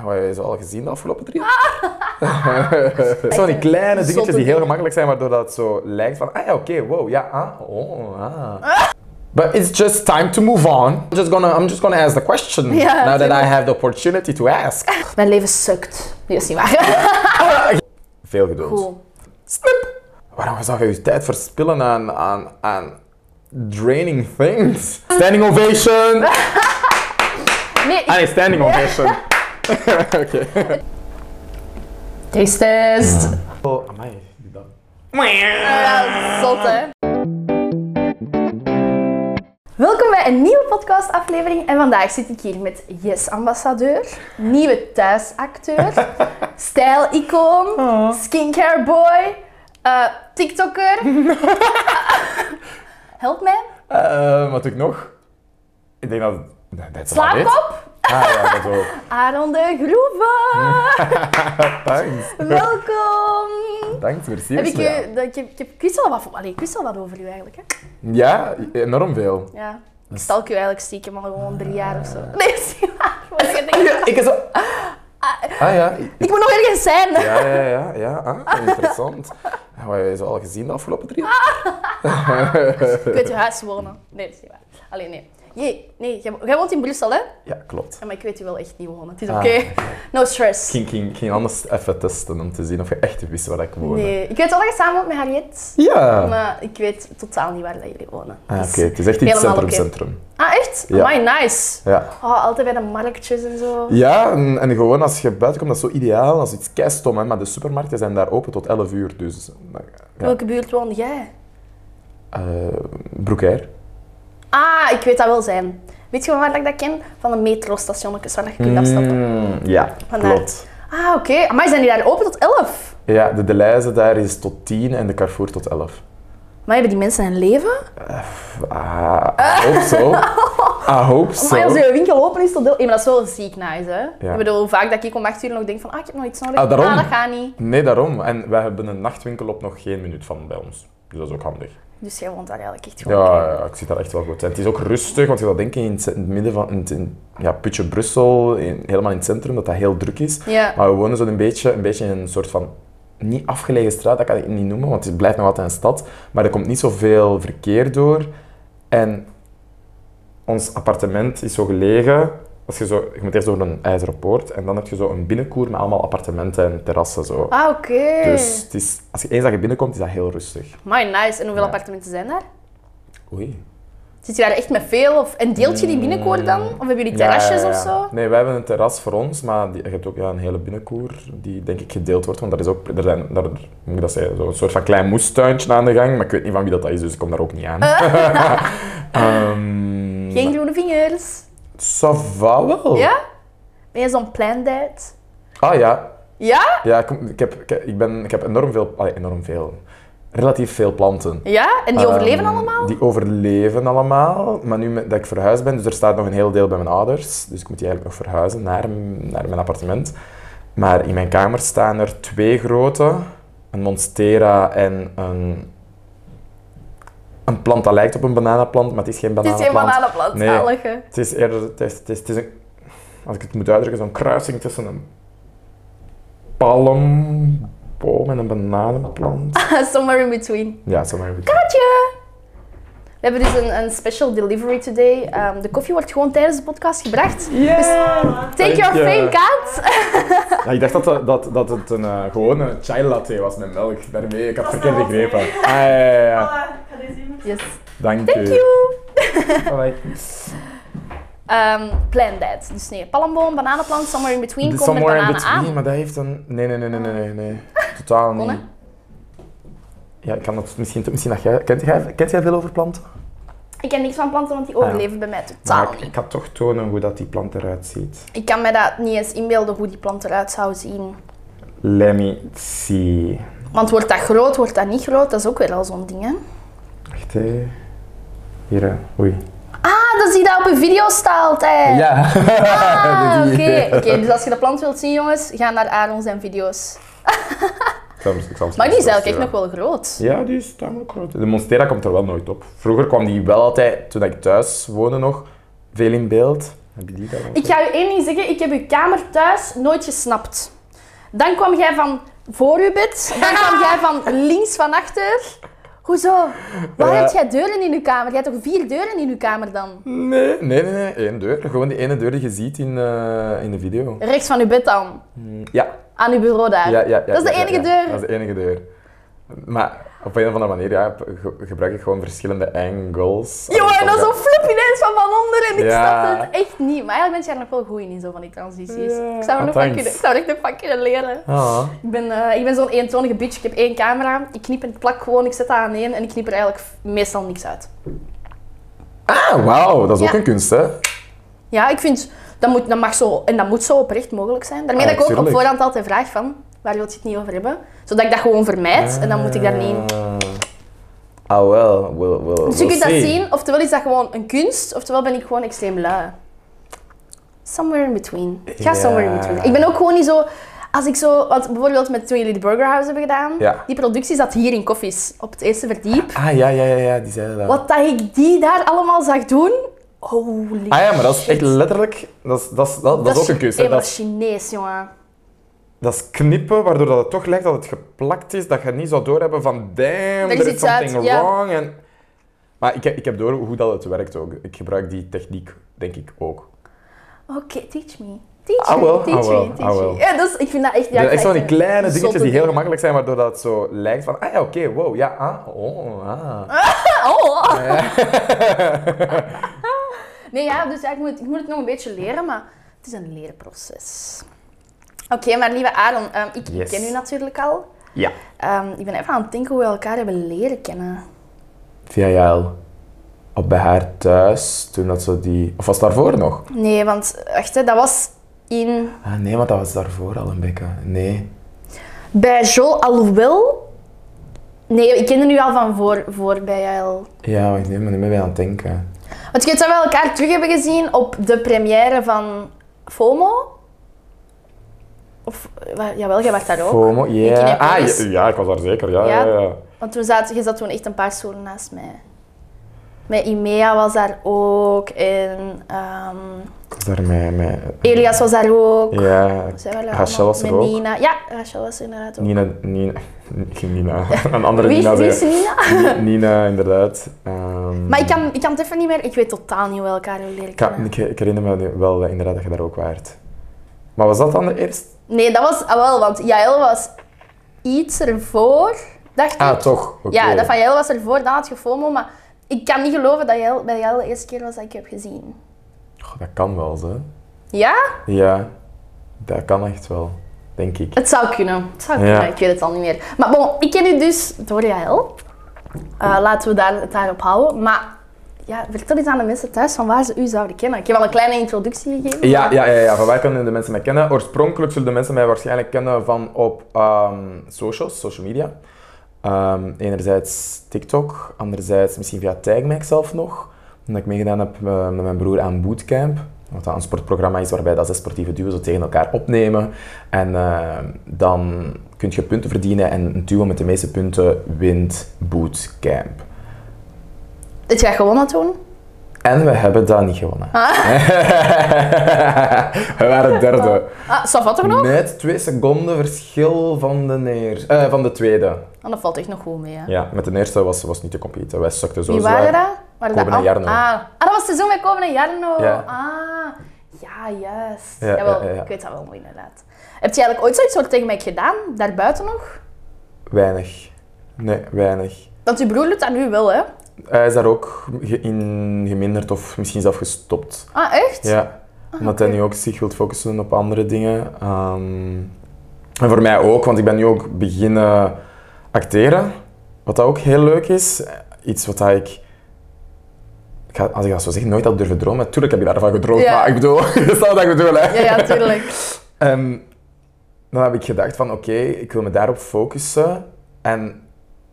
Hebben we ze al gezien de afgelopen drie jaar? Ah. Zo'n die kleine dingetjes die heel gemakkelijk zijn, waardoor dat zo lijkt van, ah ja, oké, wow, ja, ah, oh, ah. But it's just time to move on. I'm just gonna, I'm just gonna ask the question Ja, now that I tuurlijk. have the opportunity to ask. Mijn leven sukt. Nee, dat is niet waar. Veel geduld. Cool. Snip! Waarom zou je je tijd verspillen aan, aan, aan draining things? Standing ovation! Nee, Ah nee, standing ovation. Oké. taste test. Oh, amai. die dan. Ja, zot hè. Welkom bij een nieuwe podcastaflevering en vandaag zit ik hier met Yes-ambassadeur, nieuwe thuisacteur, stijlicoon, Oh. skincare boy, eh, tiktoker. Help mij, Eh, wat doe ik nog? Ik denk dat... dat- dat is wel dit. slaapkop, Ah ja, dat ook. Aaron de Groeve. Thanks. Welkom. Thanks, merci. Heb ik, eh, Ursula. je, dat- ik, heb- ik, heb- ik wist wel wat, van- allee, ik wist wel wat over u eigenlijk. Hè? Ja, enorm veel. Ja. Ik stalk u eigenlijk stiekem al gewoon drie jaar of zo. Nee, is niet waar. Maar ik, denk, Ik is zo... Ah ja. i- ik moet nog ergens zijn. Ja, ja, ja, ja. Ah, interessant. Hebben we ze al gezien de afgelopen drie jaar? Ik weet uw huis wonen. Nee, dat is niet waar. Allee, nee. Jee, nee. Jij, jij woont in Brussel, hè? Ja, klopt. Ja, maar ik weet u wel echt niet wonen. Het is Ah, oké. No stress. Ik ging, ik ging anders even testen om te zien of je echt wist waar ik woonde. Nee. Ik weet wel dat je samen woont met Harriet. Ja. Maar ik weet totaal niet waar dat jullie wonen. Ah, oké, Dus- het is echt iets helemaal centrum, oké. centrum. Ah, echt? Ja. Amai, nice. Ja. Oh, altijd bij de marktjes en zo. Ja, en, en gewoon als je buiten komt, dat is zo ideaal. Dat is iets keistom, hè. Maar de supermarkten zijn daar open tot 11 uur, dus... Ja. Welke buurt woon jij? Eh, Broekair. Ah, ik weet dat wel zijn. Weet je van waar dat ik dat ken? Van de metrostationnetjes waar dat je kunt afstappen. Mm, ja, Vandaar. klopt. Ah, oké. Maar zijn die daar open tot 11? Ja, de Deleuze daar is tot 10 en de Carrefour tot 11. Maar hebben die mensen een leven? Ah, I hope so. I hope so. Maar als je winkel open is tot deel... Ja, maar dat is wel ziek nice, hè? Ja. Ik bedoel, hoe vaak dat ik om 8 uur nog denk van, ah, ik heb nog iets nodig. Ah, daarom. dat gaat niet. Nee, daarom. En wij hebben een nachtwinkel op nog geen minuut van bij ons. Dus dat is ook handig. Dus jij woont daar eigenlijk echt gewoon. Ja, oké. ja, ik zie dat echt wel goed. En het is ook rustig, want je zou denken in het cent- in het midden van in het- in, ja, Putje Brussel, in- helemaal in het centrum, dat dat heel druk is. Ja. Maar we wonen zo een beetje, een beetje in een soort van niet afgelegen straat, dat kan ik niet noemen, want het blijft nog altijd een stad. Maar er komt niet zoveel verkeer door. En ons appartement is zo gelegen. Als je, zo, je moet eerst door een ijzeren poort en dan heb je zo een binnenkoer met allemaal appartementen en terrassen. Zo. Ah, oké. Dus het is, als je eens dat je binnenkomt, is dat heel rustig. Amai, nice. En hoeveel Ja. appartementen zijn daar? Oei. Zit je daar echt met veel? Of... En deelt je die binnenkoor dan? Of hebben jullie terrasjes Hmm. Ja, ja, ja. of zo? Nee, wij hebben een terras voor ons, maar die, je hebt ook ja, een hele binnenkoer die denk ik gedeeld wordt. Want daar is ook er zijn, daar, hoe moet ik dat zeggen, zo'n soort van klein moestuintje aan de gang, maar ik weet niet van wie dat, dat is, dus ik kom daar ook niet aan. Ehm Geen groene vingers. ça va wel. Ja? Ben je zo'n plan date? Ah ja, Ja? ja ik, ik, heb, ik, ik ben, ik heb enorm veel, allee, enorm veel, relatief veel planten. Ja? En die overleven Ehm, allemaal? Die overleven allemaal. Maar nu met- dat ik verhuisd ben, dus er staat nog een heel deel bij mijn ouders. Dus ik moet die eigenlijk nog verhuizen naar, m- naar mijn appartement. Maar in mijn kamer staan er twee grote. Een Monstera en een... Een plant dat lijkt op een bananenplant, maar het is geen Het is bananenplant. geen bananenplant, Nee. zalige. Het is eerder... Het is, het is, het is een, als ik het moet uitdrukken, zo'n kruising tussen een palmboom en een bananenplant. Somewhere in between. Ja, zo maar even. Katje! We hebben dus een, een special delivery today. Ehm, de koffie wordt gewoon tijdens de podcast gebracht. Take your fame, Kaat! Ja, ik dacht dat, dat- dat, dat het een eh, gewone chai latte was met melk. Daarmee, ik had het verkeerd begrepen. Ah, ja, ja, ja. Yes, Dank thank u. you! Bye-bye. Ehm plan that. Dus nee, palmboom, bananenplant, somewhere in between. The Kom met Somewhere in bananen Between, aan. maar dat heeft een... Nee, nee, nee, nee, nee, nee, nee. Totaal niet. Bonne? Ja, ik kan dat misschien... misschien dat jij, kent, jij, kent jij veel over planten? Ik ken niks van planten, want die overleven bij mij totaal Ah, Maar ik, niet. ik had toch tonen hoe dat die plant eruit ziet. Ik kan mij dat niet eens inbeelden hoe die plant eruit zou zien. Let me see. Want wordt dat groot, wordt dat niet groot, dat is ook weer al zo'n ding, hè? Wacht, hè. Hier, hè. Oei. Ah, dat zie je dat op een video staat altijd! Ja. Eh. Ah, oké. Die- Oké, dus als je de plant wilt zien, jongens, ga naar Aaron zijn video's. Ik zal hem- ik zal hem Maar die is straks eigenlijk echt nog wel groot. Ja, die is tamelijk groot. De Monstera komt er wel nooit op. Vroeger kwam die wel altijd, toen ik thuis woonde nog, veel in beeld. Heb je die daar Ik ga u één ding zeggen, ik heb uw kamer thuis nooit gesnapt. Dan kwam jij van voor uw bed, dan kwam jij van links van achter. Hoezo? Waar Ja. heb jij deuren in uw kamer? Jij hebt toch vier deuren in uw kamer dan? Nee, nee, nee, nee. Eén deur. Gewoon die ene deur die je ziet in, eh, in de video. Rechts van uw bed dan, Ja. aan uw bureau daar. ja, ja, ja dat is de ja, enige ja. deur. Dat is de enige deur. Maar op een of andere manier ja, ge- gebruik ik gewoon verschillende angles. Jongen, dat is zo een flip ineens van van onder en ik Ja. snap het echt niet. Maar eigenlijk ben je er nog wel goed in, in zo van die transities. Ja, Ik, zou er nog van thanks. kunnen, ik zou er echt nog van kunnen leren. Ah, Ik ben, eh, ik ben zo'n eentonige bitch. Ik heb één camera, ik knip en plak gewoon, ik zet dat aan één en ik knip er eigenlijk f- meestal niks uit. ah wauw. Dat is ook Ja. een kunst, hè? Ja, ik vind, dat, moet, dat mag zo, en dat moet zo oprecht mogelijk zijn. Daarmee Ah, dat ik ook op tuurlijk. voorhand altijd vraag van, waar wil je het niet over hebben? Zodat ik dat gewoon vermijd en dan moet ik daar niet... Ah. Ah, wel. We'll, we'll, Dus je we'll kunt dat see. zien, oftewel is dat gewoon een kunst, oftewel ben ik gewoon extreem lui. Somewhere in between. Ik ga Ja. somewhere in between. Ik ben ook gewoon niet zo... Als ik zo... Want bijvoorbeeld met toen jullie de Burger House hebben gedaan, Ja. die productie zat hier in Koffies, op het eerste verdiep. Ah, ja, ja, ja, ja. Die zeiden dat. Wat dat ik die daar allemaal zag doen... Holy Ah ja, maar dat is echt shit. letterlijk... Dat is, dat is, dat, dat is ook een kunst, Hey, hè? maar Dat Dat is Chinees, jongen. Dat is knippen, waardoor dat het toch lijkt dat het geplakt is, dat je niet zou doorhebben van damn, there is iets something uit, ja. wrong. En... Maar ik, heb- ik heb door hoe dat het werkt ook. Ik gebruik die techniek, denk ik, ook. Oké, teach me. Teach Ah, me, wel, teach ah, me, wel, teach ah, wel. me. Ja, dus ik vind dat echt... Ja, eh, Ja, ik echt vind zo'n dat die kleine een dingetjes zotte die heel ding. gemakkelijk zijn, waardoor dat het zo lijkt van, ah ja, oké, wow, ja, ah, oh, ah. Oh. nee, ja, dus ja, ik, moet, ik moet het nog een beetje leren, maar het is een leerproces. Oké, maar lieve Aaron, ehm, ik, ik Yes. ken u natuurlijk al. Ja. Ehm, ik ben even aan het denken hoe we elkaar hebben leren kennen. Via Jael. Op bij haar thuis, toen dat zo die... Of was het daarvoor nog? Nee, want echt, hè, dat was in... Ah, nee, want dat was daarvoor al een beetje. Nee. Bij Joel, alhoewel... Nee, ik kende u al van voor, voor bij jou. Ja, maar ik neem me niet meer bij aan het denken. Want ik weet dat we elkaar terug hebben gezien op de première van FOMO. Of, eh, jawel, jij was daar ook. FOMO, ja. Kinepolis. Ah, ja, ja, ik was daar zeker, ja, ja, Ja. ja. ja. Want toen zat, je zat toen echt een paar stoelen naast mij. Met Imea was daar ook en ehm, Was daar met, met... Elias was daar ook. Ja, Zij waren Rachel was allemaal- er met ook. Nina. Ja, Rachel was inderdaad ook. Nina, Nina, ik ging Nina, een andere Wie, Nina wie is zeggen. Nina? Ni- Nina, inderdaad. Ehm, Maar ik kan, ik kan het even niet meer. Ik weet totaal niet hoe we elkaar hebben leren ik, kan- kennen. ik, ik herinner me nu wel eh, inderdaad dat je daar ook waart. Maar was dat dan de eerste? Nee, dat was ah, wel, want Jael was iets ervoor, dacht ik. Ah, toch. Oké. Ja, dat van Jael was ervoor, dan had je FOMO, maar ik kan niet geloven dat Jael bij Jael de eerste keer was dat ik je heb gezien. Goh, dat kan wel, zo. Ja? Ja, dat kan echt wel, denk ik. Het zou kunnen. Het zou Ja. kunnen, ik weet het al niet meer. Maar bon, ik ken u dus door Jael. Eh, laten we daar, het daarop houden. Maar ja, vertel eens aan de mensen thuis van waar ze u zouden kennen. Ik heb al een kleine introductie gegeven. Ja, ja, ja, ja, van waar kunnen de mensen mij kennen? Oorspronkelijk zullen de mensen mij waarschijnlijk kennen van op ehm, socials, social media. Ehm, enerzijds TikTok, anderzijds misschien via TagMac zelf nog. Omdat ik meegedaan heb eh, met mijn broer aan Bootcamp. Wat dat een sportprogramma is waarbij dat zes sportieve duo's het tegen elkaar opnemen. En eh, dan kun je punten verdienen en een duo met de meeste punten wint Bootcamp. Dat jij gewonnen toen? En we hebben dat niet gewonnen. we waren derde. Ah, ça va toch nog? Net twee seconden verschil van de, neer, eh, van de tweede. En Ah, dat valt echt nog goed mee. Hè. Ja, met de eerste was, was niet te competen. Wij sukten zo Wie zwaar. waren dat? Waren dat Koben en al- Jarno. Ah. ah, dat was het seizoen met Koben en Jarno. Ja. Ah, ja, juist. Ja, Jawel, ja, ja, ja. ik weet dat wel nog inderdaad. Heb je eigenlijk ooit zoiets soort tegen mij gedaan, daarbuiten nog? Weinig. Nee, weinig. Want uw broer doet dat nu wel, hè? Hij is daar ook ge- in geminderd of misschien zelf gestopt. Ah, echt? Ja. Omdat hij nu ook zich wilt focussen op andere dingen. Ehm, en voor mij ook, want ik ben nu ook beginnen acteren. Wat dat ook heel leuk is. Iets wat dat ik, ik ga- als ik dat zo zeg, nooit had durven dromen. Tuurlijk heb je daarvan gedroomd, Ja. maar ik bedoel, je staat wat ik bedoel. Hè. Ja, ja, tuurlijk. En Ehm, dan heb ik gedacht van, oké, ik wil me daarop focussen. En,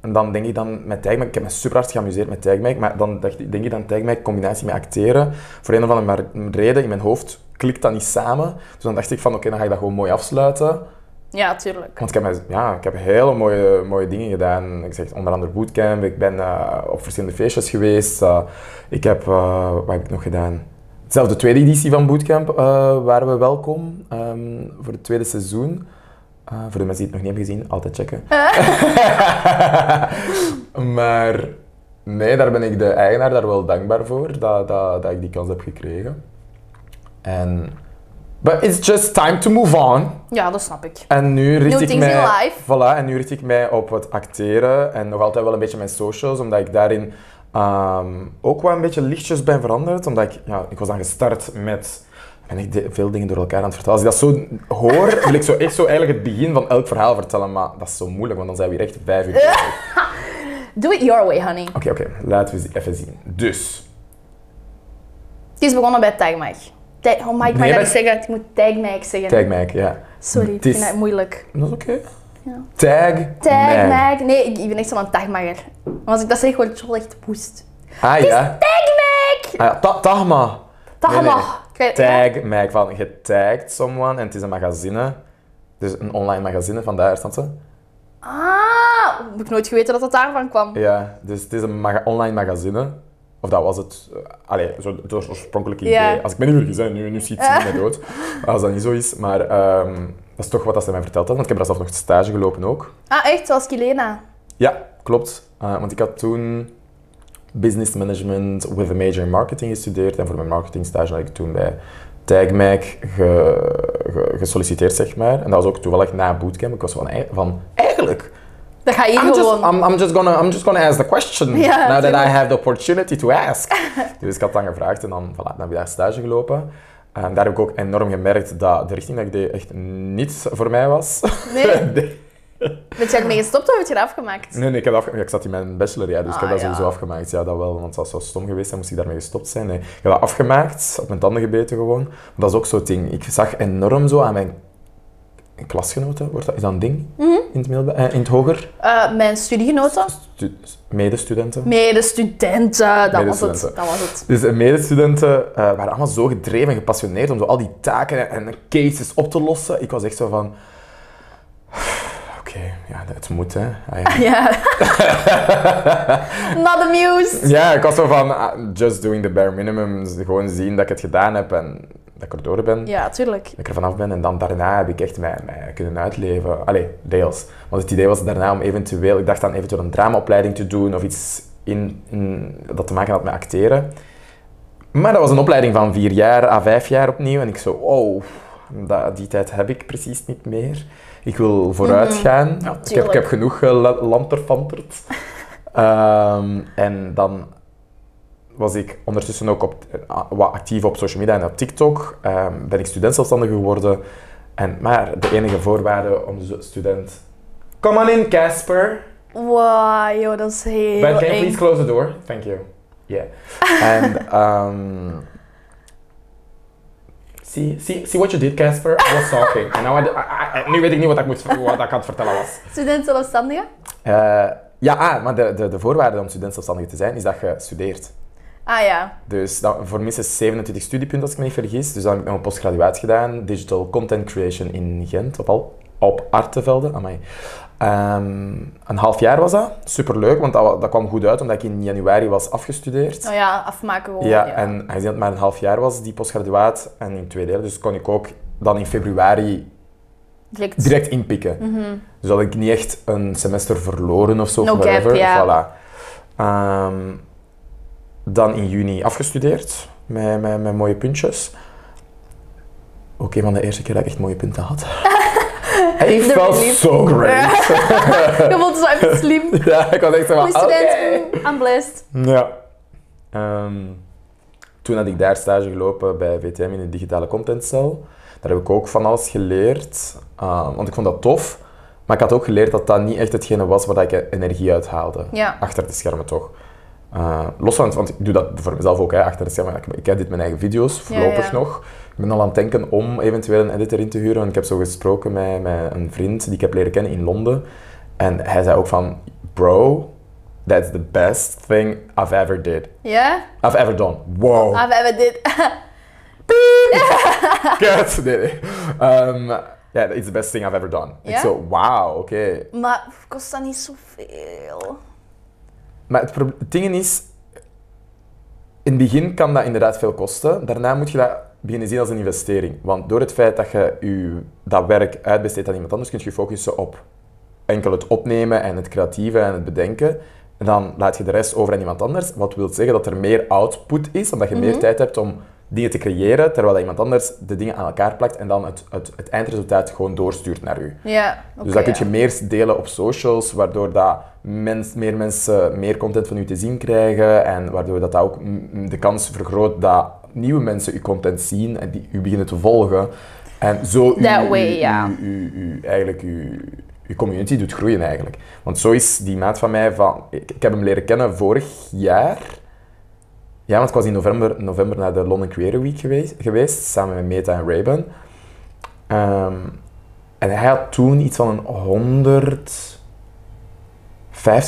en dan denk ik dan met Tijgmijk, ik heb me super hard geamuseerd met Tijgmijk, maar dan dacht ik, denk ik dan Tijgmijk in combinatie met acteren. Voor een of andere mar- reden in mijn hoofd klikt dat niet samen. Dus dan dacht ik van, oké, dan ga ik dat gewoon mooi afsluiten. Ja, tuurlijk. Want ik heb, me- ja, ik heb hele mooie, mooie dingen gedaan. Ik zeg onder andere bootcamp, ik ben eh, op verschillende feestjes geweest. eh, ik heb, eh, wat heb ik nog gedaan? Zelfs de tweede editie van Bootcamp eh, waren we welkom ehm, voor het tweede seizoen. Eh, voor de mensen die het nog niet hebben gezien, altijd checken. maar nee, daar ben ik de eigenaar daar wel dankbaar voor, dat, dat, dat ik die kans heb gekregen. En... But it's just time to move on. Ja, dat snap ik. En nu richt ik things mij... in life. Voilà, en nu richt ik mij op het acteren en nog altijd wel een beetje mijn socials, omdat ik daarin ehm, ook wel een beetje lichtjes ben veranderd. Omdat ik, ja, ik was dan gestart met... Ben ik de- veel dingen door elkaar aan het vertellen. Als ik dat zo hoor, wil ik zo echt zo eigenlijk het begin van elk verhaal vertellen, maar dat is zo moeilijk, want dan zijn we hier echt vijf uur bezig. Do it your way, honey. Oké, oké, laten we eens even zien. Dus, Het is begonnen bij Tagmike. Tag, oh, Mike, mag Nee, ik maar- dat niet zeggen? Ik moet Tagmike zeggen. tag Mike, ja. Sorry, ik het is- vind dat moeilijk. Dat is oké. Ja. Tag, Tag Mike. Mike. Nee, ik, ik ben echt zo'n tagmager. Want als ik dat zeg, word ik zo echt woest. Ah ja. Tag Mike! Ah, ja. Ta- Tagma. Tag Nee, nee. mag. Ik weet- Tag mij van getagd someone en het is een magazine. Dus een online magazine, vandaar stond ze. Ah, heb ik nooit geweten dat dat daarvan kwam. Ja, dus het is een maga- online magazine. Of dat was het. eh, Allee, zo het oors- oorspronkelijke Ja. idee. Als ik me niet vergis, hè, nu, nu schiet ze me dood. Als dat niet zo is. Maar ehm, dat is toch wat dat ze mij verteld had, want ik heb daar zelf nog stage gelopen ook. Ah, echt? Zoals Kilena. Ja, klopt. Eh, want ik had toen business management with a major in marketing gestudeerd. En voor mijn marketingstage had ik toen bij TagMac ge- ge- gesolliciteerd, zeg maar. En dat was ook toevallig na bootcamp. Ik was van, ei- van eigenlijk, Dat ga je I'm just, gewoon. I'm, I'm, just gonna, I'm just gonna ask the question. Ja, now that tuurlijk. I have the opportunity to ask. dus ik had dan gevraagd en dan, voilà, dan heb ik daar stage gelopen. En daar heb ik ook enorm gemerkt dat de richting dat ik deed echt niet voor mij was. Nee? Nee. Ben je ermee gestopt of heb je het afgemaakt? Nee, nee, ik, heb afge- ja, ik zat in mijn bachelor, ja, dus ik heb Ah, dat ja. sowieso afgemaakt. Ja, dat wel, want dat zou stom geweest zijn, moest ik daarmee gestopt zijn. Nee, ik heb dat afgemaakt, op mijn tanden gebeten gewoon. Maar dat is ook zo'n ding. Ik zag enorm zo aan mijn klasgenoten, wordt dat, is dat een ding Mhm. in, het middelba- eh, in het hoger? Eh, mijn studiegenoten? Stu- medestudenten. Medestudenten, dat was het. Dat Medestudenten. was het. Dus eh, medestudenten eh, waren allemaal zo gedreven en gepassioneerd om zo al die taken en en cases op te lossen. Ik was echt zo van... Oké, ja, het moet hè. Ah, ja. Ja. Not amused. Ja, ik was zo van, ah, just doing the bare minimum. Gewoon zien dat ik het gedaan heb en dat ik er door ben. Ja, tuurlijk. Dat ik er vanaf ben. En dan daarna heb ik echt mij, mij kunnen uitleven. Allee, deels. Want het idee was daarna om eventueel... Ik dacht aan eventueel een dramaopleiding te doen of iets in, in, dat te maken had met acteren. Maar dat was een opleiding van vier jaar à vijf jaar opnieuw. En ik zo, wow, dat, die tijd heb ik precies niet meer. Ik wil vooruit Mhm. gaan. Ja, ik, heb, ik heb tuurlijk. genoeg gelanterfanterd. Ehm, en dan was ik ondertussen ook op, eh, wat actief op social media en op TikTok. Ehm, ben ik student zelfstandig geworden. En, maar de enige voorwaarde om zo- student... Come on in, Casper. Wow, joh, dat is heel Ben, can you eng. please close the door? Thank you. Yeah. And um, see, see, see what you did, Casper. I was talking. And now I, I- I- nu weet ik niet wat ik, moest, wat ik aan het vertellen was. Student zelfstandige? Eh, ja, ah, maar de, de, de voorwaarde om student zelfstandig te zijn is dat je studeert. Ah ja. Dus dat, voor minstens 27 studiepunten, als ik me niet vergis. Dus dan heb ik nog een postgraduaat gedaan, digital content creation in Gent, op, al, op Artevelde. Amai. Ehm, een half jaar was dat, superleuk, want dat, wa- dat kwam goed uit omdat ik in januari was afgestudeerd. Nou ja, afmaken gewoon. Ah, Ja, en aangezien het maar een half jaar was, die postgraduaat, en in twee delen, dus kon ik ook dan in februari Direct. direct inpikken. Mhm. Dus had ik niet echt een semester verloren of zo. No of whatever. gap, ja. Voilà. Ehm, dan in juni afgestudeerd, met, met, met mooie puntjes. Ook een van de eerste keer dat ik echt mooie punten had. I De felt relief. so great. Je voelt zo even slim. ja, ik had echt zo van, Goeie student, oké. mm, I'm blessed. Ja. Ehm, toen had ik daar stage gelopen bij VTM in de digitale contentcel. Daar heb ik ook van alles geleerd, ehm, want ik vond dat tof. Maar ik had ook geleerd dat dat niet echt hetgene was waar dat ik energie uit haalde. Ja. Achter de schermen toch. Eh, los van, het- want ik doe dat voor mezelf ook, hè, achter de schermen. Ik, ik edit mijn eigen video's, Ja, ja. voorlopig nog. Ik ben al aan het denken om eventueel een editor in te huren. Want ik heb zo gesproken met, met een vriend die ik heb leren kennen in Londen. En hij zei ook van, bro, that's the best thing I've ever did. Ja? I've ever done. Wow. Ah, we hebben dit. Kut. Nee, nee. Ehm, yeah, it's the best thing I've ever done. Ik Ja? zo, wauw, oké. Maar kost dat niet zoveel? Maar het, proble- het ding is, in het begin kan dat inderdaad veel kosten. Daarna moet je dat beginnen zien als een investering. Want door het feit dat je je, dat werk uitbesteedt aan iemand anders, kun je je focussen op enkel het opnemen en het creatieve en het bedenken. En dan laat je de rest over aan iemand anders. Wat wil zeggen dat er meer output is, omdat je meer tijd hebt om dingen te creëren, terwijl dat iemand anders de dingen aan elkaar plakt en dan het, het, het eindresultaat gewoon doorstuurt naar u. Ja, oké. Dus dat kun je ja. meer delen op socials, waardoor dat mens, meer mensen meer content van u te zien krijgen en waardoor dat, dat ook mm, de kans vergroot dat nieuwe mensen uw content zien en die u beginnen te volgen. En zo u, That u- way, u- ja. u, u, u- eigenlijk uw uw community doet groeien eigenlijk. Want zo is die maat van mij van... Ik, ik heb hem leren kennen vorig jaar. Ja, want ik was in november, november naar de London Creator Week geweest, geweest samen met Meta en Rayban. Ehm, en hij had toen iets van een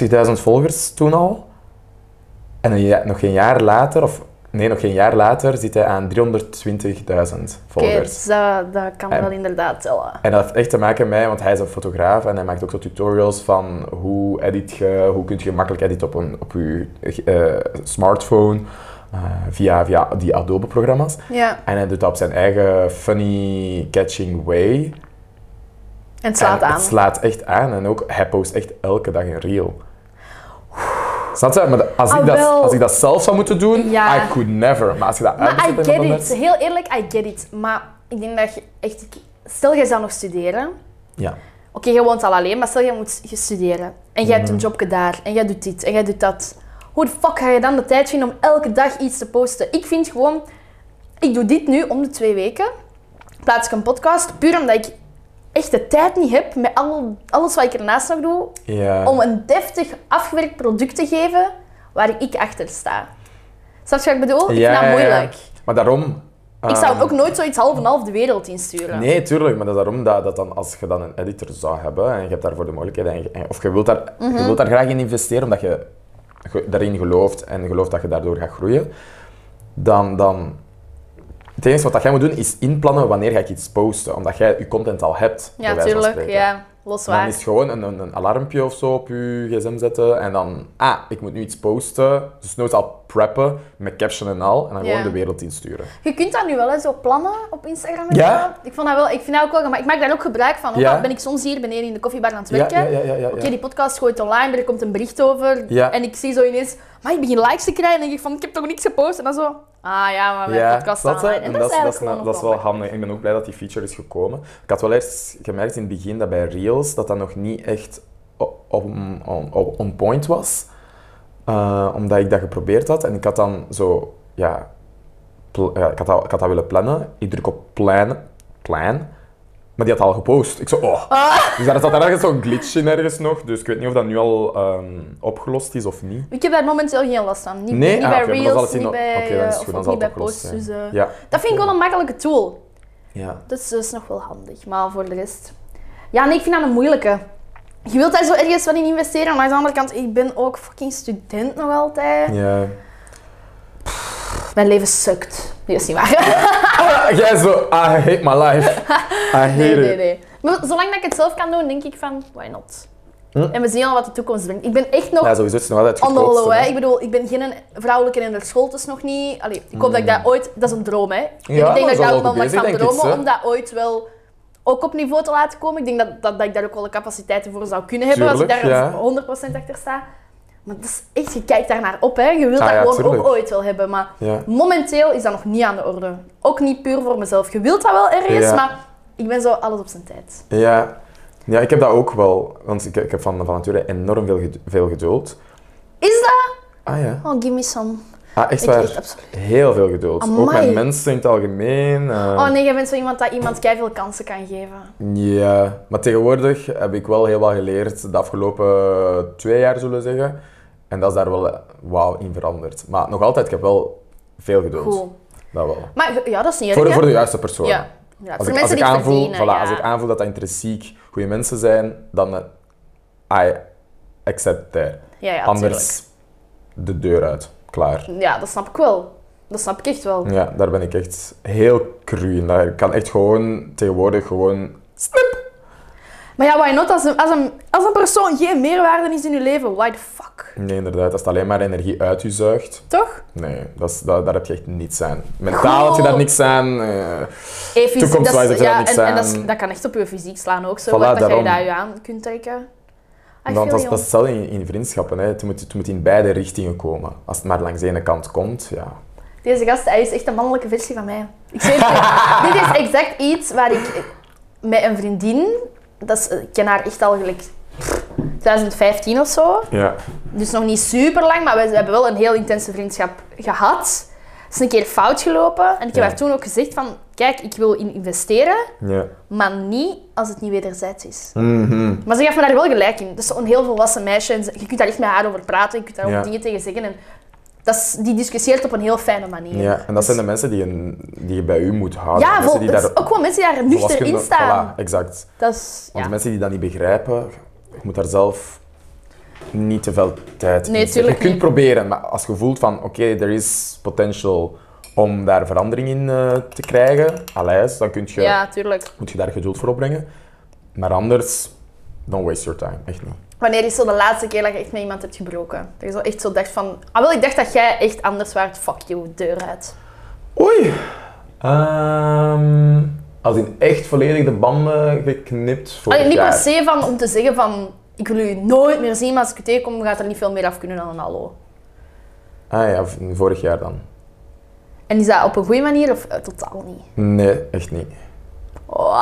150.000 volgers toen al. En een ja- nog geen jaar later, of nee, nog geen jaar later, zit hij aan 320.000 Oké, volgers. dus dat, dat kan En- wel inderdaad tellen. En dat heeft echt te maken met, want hij is een fotograaf en hij maakt ook zo tutorials van hoe edit je, hoe kun je makkelijk editen op, een, op je eh, smartphone eh, via, via die Adobe-programma's. Ja, En hij doet dat op zijn eigen funny catching way. en het slaat En aan. Het slaat echt aan en ook hij post echt elke dag een reel. Snap je? Maar dat- als ik, Ah, dat, wel. als ik dat zelf zou moeten doen, Ja. I could never. Maar als je dat Maar I uitbesteedt aan get iemand it. anders- Heel eerlijk, I get it. Maar ik denk dat je echt... Stel, jij zou nog studeren. Ja. Oké, je woont al alleen, maar stel, jij moet je studeren. En jij hebt een jobje daar. En jij doet dit. En jij doet dat. Hoe de fuck ga je dan de tijd vinden om elke dag iets te posten? Ik vind gewoon... Ik doe dit nu om de twee weken. Plaats ik een podcast. Puur omdat ik echt de tijd niet heb met al, alles wat ik ernaast nog doe. ja. Om een deftig afgewerkt product te geven waar ik achter sta. Snap je wat ik bedoel? ik vind dat moeilijk. Maar daarom... Ik zou ehm, ook nooit zoiets half en half de wereld insturen. Nee, tuurlijk, maar dat is daarom dat, dat dan, als je dan een editor zou hebben en je hebt daarvoor de mogelijkheid, en je- en- of je wilt, daar, Mhm. je wilt daar graag in investeren omdat je ge- daarin gelooft en gelooft dat je daardoor gaat groeien, dan, dan het enige wat dat jij moet doen is inplannen wanneer ga ik iets posten, omdat jij je content al hebt. bij ja, wijze van tuurlijk. spreken. Ja, los Dan waar. is het gewoon een, een, een alarmpje of zo op je gsm zetten en dan, ah, ik moet nu iets posten, dus nooit al preppen met caption en al, en dan Ja. gewoon de wereld insturen. Je kunt dat nu wel hè, zo plannen op Instagram. en Ja? zo. Ik, vond dat wel, ik vind dat ook wel gemaakt. Ik maak daar ook gebruik van. Ook Ja. al ben ik soms hier beneden in de koffiebar aan het werken. ja, ja. Oké, die podcast gooit online, er komt een bericht over. Ja. En ik zie zo ineens, maar ik begin likes te krijgen. En dan denk ik van, ik heb toch niks gepost? En dan zo, ah ja, maar mijn podcast staat hè. online. En dat, is dat, eigenlijk is, gewoon dat is wel handig. Ik ben ook blij dat die feature is gekomen. Ik had wel eerst gemerkt in het begin dat bij Reels dat dat nog niet echt o- on, on, on- on point was. Eh, omdat ik dat geprobeerd had en ik had dan zo, ja, pl- ja, ik, had dat, ik had dat willen plannen. Ik druk op plan, plan, maar die had al gepost. Ik zo, oh. Ah. Dus daar zat ergens zo'n glitch in ergens nog, dus ik weet niet of dat nu al ehm, opgelost is of niet. Ik heb daar momenteel geen last van. Niet, Nee? niet Ah, bij oké, maar dan zal Reels, het in- niet bij, oké, dan is het goed, dan eh, of ook zal niet bij het opgelost posts. zijn. Dus, eh, Ja. Dat vind ik wel een makkelijke tool. Ja. Dat is dus nog wel handig, maar voor de rest... Ja, nee, ik vind dat een moeilijke. Je wilt daar zo ergens wel in investeren, maar aan de andere kant, ik ben ook fucking student nog altijd. Ja. Mijn leven sukt. Nee, dat is niet waar. Ah, Jij zo, I hate my life. I hate Nee, nee, it. nee. Maar zolang dat ik het zelf kan doen, denk ik van, why not? Hm? En we zien al wat de toekomst brengt. Ik ben echt nog Ja, sowieso is het nog altijd het on the goedkoopste, low, hè. hè. Ik bedoel, ik ben geen vrouwelijke in de school, dus nog niet. Allee, ik hoop dat ik dat ooit... Dat is een droom, hè. En Hmm. Ja, ik maar denk dat zo ik daar wel ook wel goed bezig, van kan denk ik, dromen, hè. om dat ooit wel ook op niveau te laten komen. Ik denk dat, dat, dat ik daar ook wel de capaciteiten voor zou kunnen hebben, als ik Tuurlijk, ja. daar 100% achter sta. Maar dat is echt, je kijkt daarnaar op, hè. Je wilt Ah, dat ja, gewoon tuurlijk. ook ooit wel hebben, maar... Ja. Momenteel is dat nog niet aan de orde. Ook niet puur voor mezelf. Je wilt dat wel ergens, Ja. maar ik ben zo alles op zijn tijd. Ja. ja, ik heb dat ook wel. Want ik, ik heb van, van nature enorm veel, ged- veel geduld. Is dat? Ah ja. Oh, give me some. Ah, echt Ik waar. echt absoluut. Heel veel geduld. Ook Amai. met mensen in het algemeen. eh, Oh nee, jij bent zo iemand dat iemand keiveel kansen kan geven. Ja, maar tegenwoordig heb ik wel heel wat geleerd de afgelopen twee jaar, zullen we zeggen. En dat is daar wel eh, wauw in veranderd. Maar nog altijd, ik heb wel veel geduld. Cool. Dat wel. Maar ge- ja, dat is niet erg. Voor, hè? voor de juiste persoon. Ja. Ja, Als voor ik, als mensen ik die het aanvoel, verdienen. voilà, ja. als ik aanvoel dat dat intrinsiek goede mensen zijn, dan eh, I accept that. ja, ja, Anders de deur uit. Klaar. tuurlijk. Ja, dat snap ik wel. Dat snap ik echt wel. Ja, daar ben ik echt heel cru in. Daar kan echt gewoon tegenwoordig gewoon... Snip! Maar ja, why not? Als een, als een, als een persoon geen meerwaarde is in je leven, why the fuck? Nee, inderdaad. Als het alleen maar energie uit je zuigt, Toch? nee, dat is, dat, daar heb je echt niets aan. Mentaal heb je daar niks aan. eh, Eh, fysiek, Toekomstwijs dat is- heb je daar ja, niks en, en dat, is- aan. dat kan echt op je fysiek slaan ook. Zo, Voilà, dat daarom. je daar je aan kunt trekken. I Want feel dat, you. dat is hetzelfde in, in vriendschappen. Hè. Het, moet, het moet in beide richtingen komen. Als het maar langs de ene kant komt, ja. Deze gast, hij is echt een mannelijke versie van mij. Ik zweer het je. Dit is exact iets waar ik met een vriendin... Dat is, ik ken haar echt al gelijk... pff, 2015 of zo. Ja. Dus nog niet super lang, maar we hebben wel een heel intense vriendschap gehad. Het is een keer fout gelopen. En ik heb Ja. haar toen ook gezegd van... Kijk, ik wil in investeren, ja. Mhm. maar niet als het niet wederzijds is. Maar ze gaf me daar wel gelijk in. Dat is zo'n heel volwassen meisje. En ze- je kunt daar echt met haar over praten. Je kunt daar Ja. ook dingen tegen zeggen. En dat is, die discussieert op een heel fijne manier. ja. En dat zijn de mensen die je, die je bij u moet houden. Ja, mensen vol, die dat daar is ook wel mensen die daar nuchter in volwassen- staan. Voilà, exact. Dat is, Want ja. mensen die dat niet begrijpen, je moet daar zelf niet te veel tijd in Nee, steken. tuurlijk Je kunt niet. proberen, maar als je voelt van oké, er is potential om daar verandering in eh, te krijgen, alijs, dan kun je, ja, tuurlijk. moet je daar geduld voor opbrengen. Maar anders, don't waste your time. Echt niet. Wanneer is zo de laatste keer dat je echt met iemand hebt gebroken? Dat je zo echt zo dacht van... Ah wel, ik dacht dat jij echt anders waart. Fuck you, deur uit. Oei. Ehm, als in echt volledig de banden geknipt voor Allee, niet per jaar. se van om te zeggen van... Ik wil u nooit meer zien, maar als ik u tegenkom, gaat er niet veel meer af kunnen dan een hallo. Ah ja, v- vorig jaar dan. En is dat op een goede manier of eh, totaal niet? Nee, echt niet. Wow,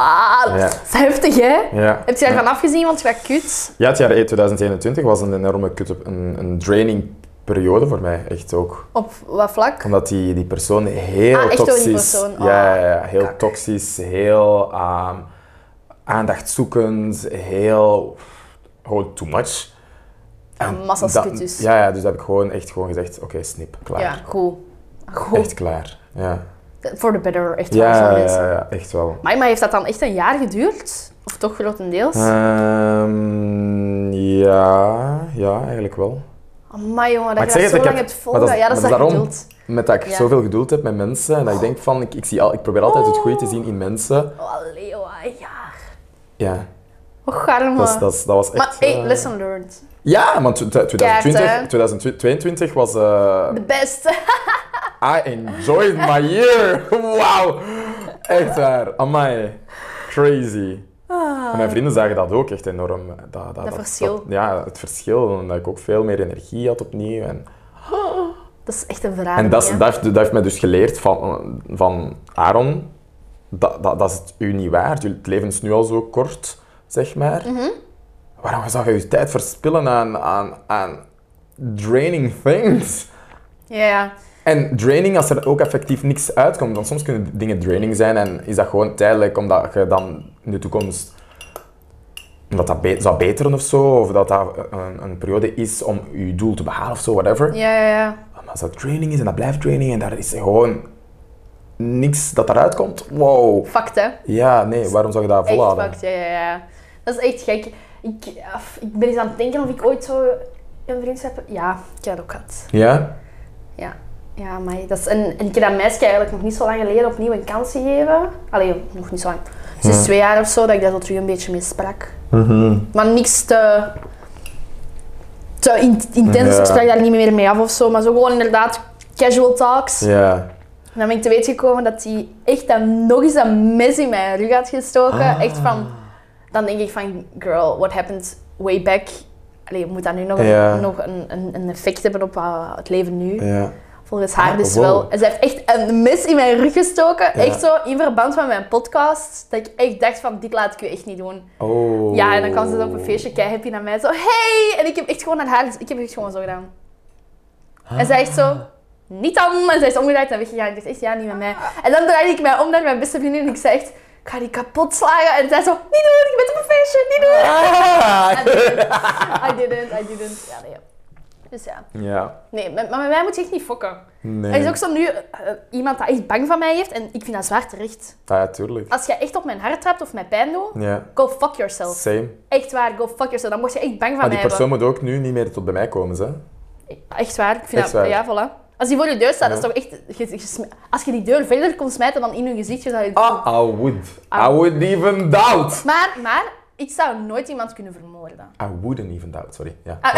dat Ja. is heftig, hè? Ja. Heb je daarvan afgezien, want je gaat kut. Ja, het jaar 2021 was een enorme kut, een, een draining periode voor mij, echt ook. Op wat vlak? Omdat die, die persoon heel Ah, echt door die toxisch... persoon. Oh, ja, ja, ja, heel kak. toxisch, heel ehm, aandachtzoekend, heel... Gewoon too much. En massa's dat- kut dus. Ja, ja, dus heb ik gewoon echt gewoon gezegd, oké, snip, klaar. Ja, goed. Goed. Echt klaar, ja. For the better, echt waar, Ja, van ja, mensen. ja, ja, echt wel. Maar, maar heeft dat dan echt een jaar geduurd? Of toch grotendeels? Ehm, ja, ja, eigenlijk wel. Amai jongen, Maar dat ik je zeg het, dat zo ik lang heb- hebt maar dat volgehouden. is- Ja, dat is maar dat dat is geduld. Met dat ik Ja. zoveel geduld heb met mensen en dat ik denk van, ik, ik, zie al, ik probeer altijd het goede te zien in mensen. Oh, allee, joh, een jaar. Ja, Och, arme. dat, is- dat, is- dat was echt... maar hey, eh, lesson learned. Ja, want tw- tw- 2020, Kaart, hè? 2022 was... eh, De beste. I enjoyed my year! Wauw! Echt waar, amai. Crazy. En mijn vrienden zagen dat ook echt enorm. Dat, dat, dat- Ah. verschil. dat- ja, het verschil. En dat ik ook veel meer energie had opnieuw. En, Dat is echt een verhaal. En dat, is- dat, heeft, dat heeft mij dus geleerd van, van Aaron. Dat, dat, dat is het u niet waard. Het leven is nu al zo kort, zeg maar. Waarom zou je je tijd verspillen aan, aan, aan draining things? Ja, ja. En draining als er ook effectief niks uitkomt. Want soms kunnen dingen draining zijn en is dat gewoon tijdelijk omdat je dan in de toekomst dat dat be- zou beteren of zo. Of dat dat een, een periode is om je doel te behalen of zo, whatever. Ja, ja, ja. Maar als dat training is en dat blijft training en daar is gewoon niks dat eruit komt. Wow. Fact, hè. Ja, nee, waarom zou je dat Echt volhouden? fact, ja, ja, ja. Dat is echt gek. Ik, af- ik ben eens aan het denken of ik ooit zo een vriendschap heb. Ja, ik heb dat ook gehad. Ja? Ja, ja maar dat is en, en ik heb dat meisje eigenlijk nog niet zo lang geleden opnieuw een kans gegeven. Allee, nog niet zo lang. Sinds Hmm. twee jaar of zo dat ik daar zo terug een beetje mee sprak. Maar niks te, te in- intens. Ja. Ik sprak daar niet meer mee af of zo. Maar zo gewoon inderdaad casual talks. Ja. En dan ben ik te weten gekomen dat hij echt dan nog eens dat mes in mijn rug had gestoken. Ah. Echt van, dan denk ik van, girl, what happened way back? Allee, moet dat nu nog, Ja. een, nog een, een, een effect hebben op eh, het leven nu? Ja. Volgens haar Ah, dus wow. wel. En ze heeft echt een mes in mijn rug gestoken. Ja. Echt zo in verband met mijn podcast. Dat ik echt dacht van, dit laat ik u echt niet doen. Oh. Ja, en dan kwam ze dan op een feestje kei happy naar mij. Zo, hey! En ik heb echt gewoon naar haar... Ik heb echt gewoon zo gedaan. En zij echt zo... Niet dan! En zij is omgedraaid en weggegaan. Ik dacht echt, ja, niet met mij. En dan draaide ik mij om naar mijn beste vriendin en ik zei echt... Ik ga die kapot slagen. En zij zo... Niet doen! Je bent op een feestje! Niet doen! Ah! I didn't, I didn't. Ja, nee. Dus ja. Ja. Nee, met- maar met mij moet je echt niet fokken. Nee. Er is ook zo nu eh, eh, iemand dat echt bang van mij heeft en ik vind dat zwaar terecht. Ah, ja, tuurlijk. Als jij echt op mijn hart trapt of mij pijn doet, Ja. go fuck yourself. Same. Echt waar, go fuck yourself. Dan mocht je echt bang van Maar mij Ah, die persoon moet ook nu niet meer tot bij mij komen, hè? hebben. Echt waar, ik vind Echt dat... waar. Ja, voilà. Als die voor je deur staat, Ja. dat is toch echt... je- je sm- als je die deur verder kon smijten dan in je gezicht, je zou je... Ah, I would. I would even doubt. Maar, maar, ik zou nooit iemand kunnen vermoorden. I wouldn't even doubt, sorry. Ja. Ah.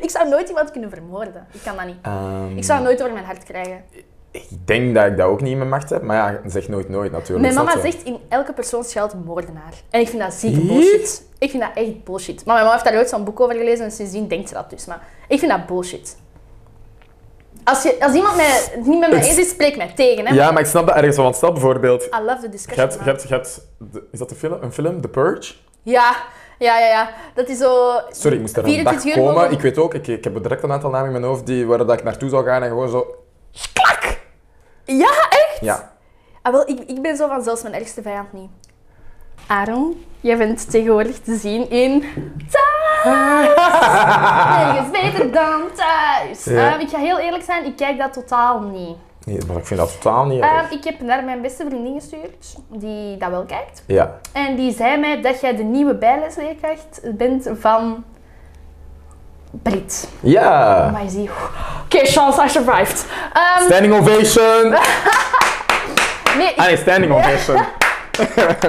Ik zou nooit iemand kunnen vermoorden. Ik kan dat niet. Ehm, Ik zou het nooit over mijn hart krijgen. ik denk dat ik dat ook niet in mijn macht heb, maar ja, zeg nooit nooit natuurlijk. Mijn snap mama je? zegt in elke persoon schuilt een moordenaar. En ik vind dat zieke Hier? bullshit. Ik vind dat echt bullshit. Maar mijn mama heeft daar ooit zo'n boek over gelezen en sindsdien denkt ze dat dus. Maar ik vind dat bullshit. Als, je, als iemand mij, het niet met mij Het- eens is, spreek mij tegen. Hè? Ja, maar ik snap dat ergens, want stel bijvoorbeeld, I love the je discussion. hebt, je man. hebt, je hebt de- is dat een film, een film, The Purge? Ja, ja, ja, ja. Dat is zo... Sorry, ik moest er een 24 dag uur komen. mogen- Ik weet ook, ik, ik heb direct een aantal namen in mijn hoofd die, waar dat ik naartoe zou gaan en gewoon zo... Ja, echt? Ja. Ah, wel, ik, ik ben zo van zelfs mijn ergste vijand niet. Aaron, jij bent tegenwoordig te zien in Thuis. Nergens beter dan Thuis. Ja. Ehm, ik ga heel eerlijk zijn, ik kijk dat totaal niet. Nee, maar ik vind dat totaal niet erg. Ehm, ik heb naar mijn beste vriendin gestuurd, die dat wel kijkt. Ja. En die zei mij dat jij de nieuwe bijlesleerkracht bent van Brit. Ja! Maar je ziet... Oh Oké, Chance, I survived. Ehm, Standing ovation! nee, ik- Ah nee, standing ovation.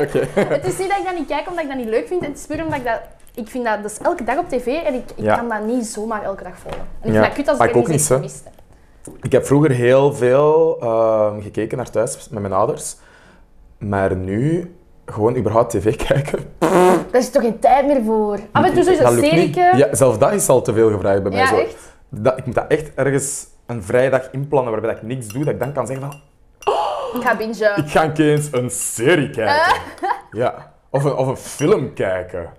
Oké. Het is niet dat ik dat niet kijk omdat ik dat niet leuk vind. Het is puur omdat ik dat... Ik vind dat, dat is elke dag op tv en ik, ik Ja. kan dat niet zomaar elke dag volgen. En ik vind Ja. dat kut als ik, Maar er ik ook eens niet, iets hè. miste. Ik heb vroeger heel veel ehm, gekeken naar thuis met mijn ouders. Maar nu gewoon überhaupt tv kijken. Daar is toch geen tijd meer voor. Af en toe zo'n dat lukt niet. serieke... Ja, zelfs dat is al te veel gevraagd bij mij. Ja, zo. echt. Dat, ik moet dat echt ergens een vrije dag inplannen waarbij dat ik niks doe, dat ik dan kan zeggen van Ik ga bingen. Ik ga een keer eens een serie kijken. Ja. Of een, of een film kijken.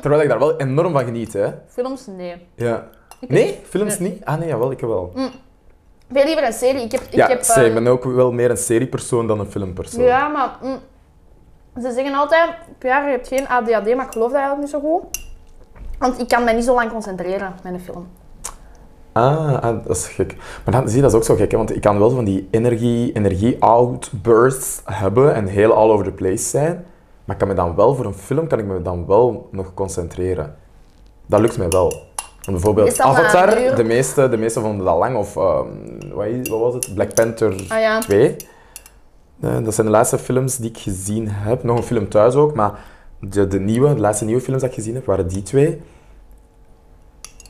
Terwijl ik daar wel enorm van geniet, hè. Films, nee. Ja. Mm. Ik Nee, films niet? Ah nee, jawel, ik wel. Veel liever een serie. Ik heb... Ik ja, heb, same. ik eh, ben ook wel meer een seriepersoon dan een filmpersoon. ja, maar... mm, ze zeggen altijd, ja, je hebt geen ADHD, maar ik geloof dat eigenlijk niet zo goed. Want ik kan mij niet zo lang concentreren met een film. Ah, ah, dat is gek. Maar dan, zie je, dat is ook zo gek, hè? want ik kan wel van die energie, energie-outbursts hebben en heel all over the place zijn. Maar ik kan me dan wel, voor een film kan ik me dan wel nog concentreren. Dat lukt mij wel. Want Is bijvoorbeeld dat na een Avatar, uur? de meeste, de meeste vonden dat lang. Of ehm, wat, is- wat was het? Black Panther Ah ja. 2. Eh, dat zijn de laatste films die ik gezien heb. Nog een film thuis ook, maar de, de, nieuwe, de laatste nieuwe films dat ik gezien heb, waren die twee.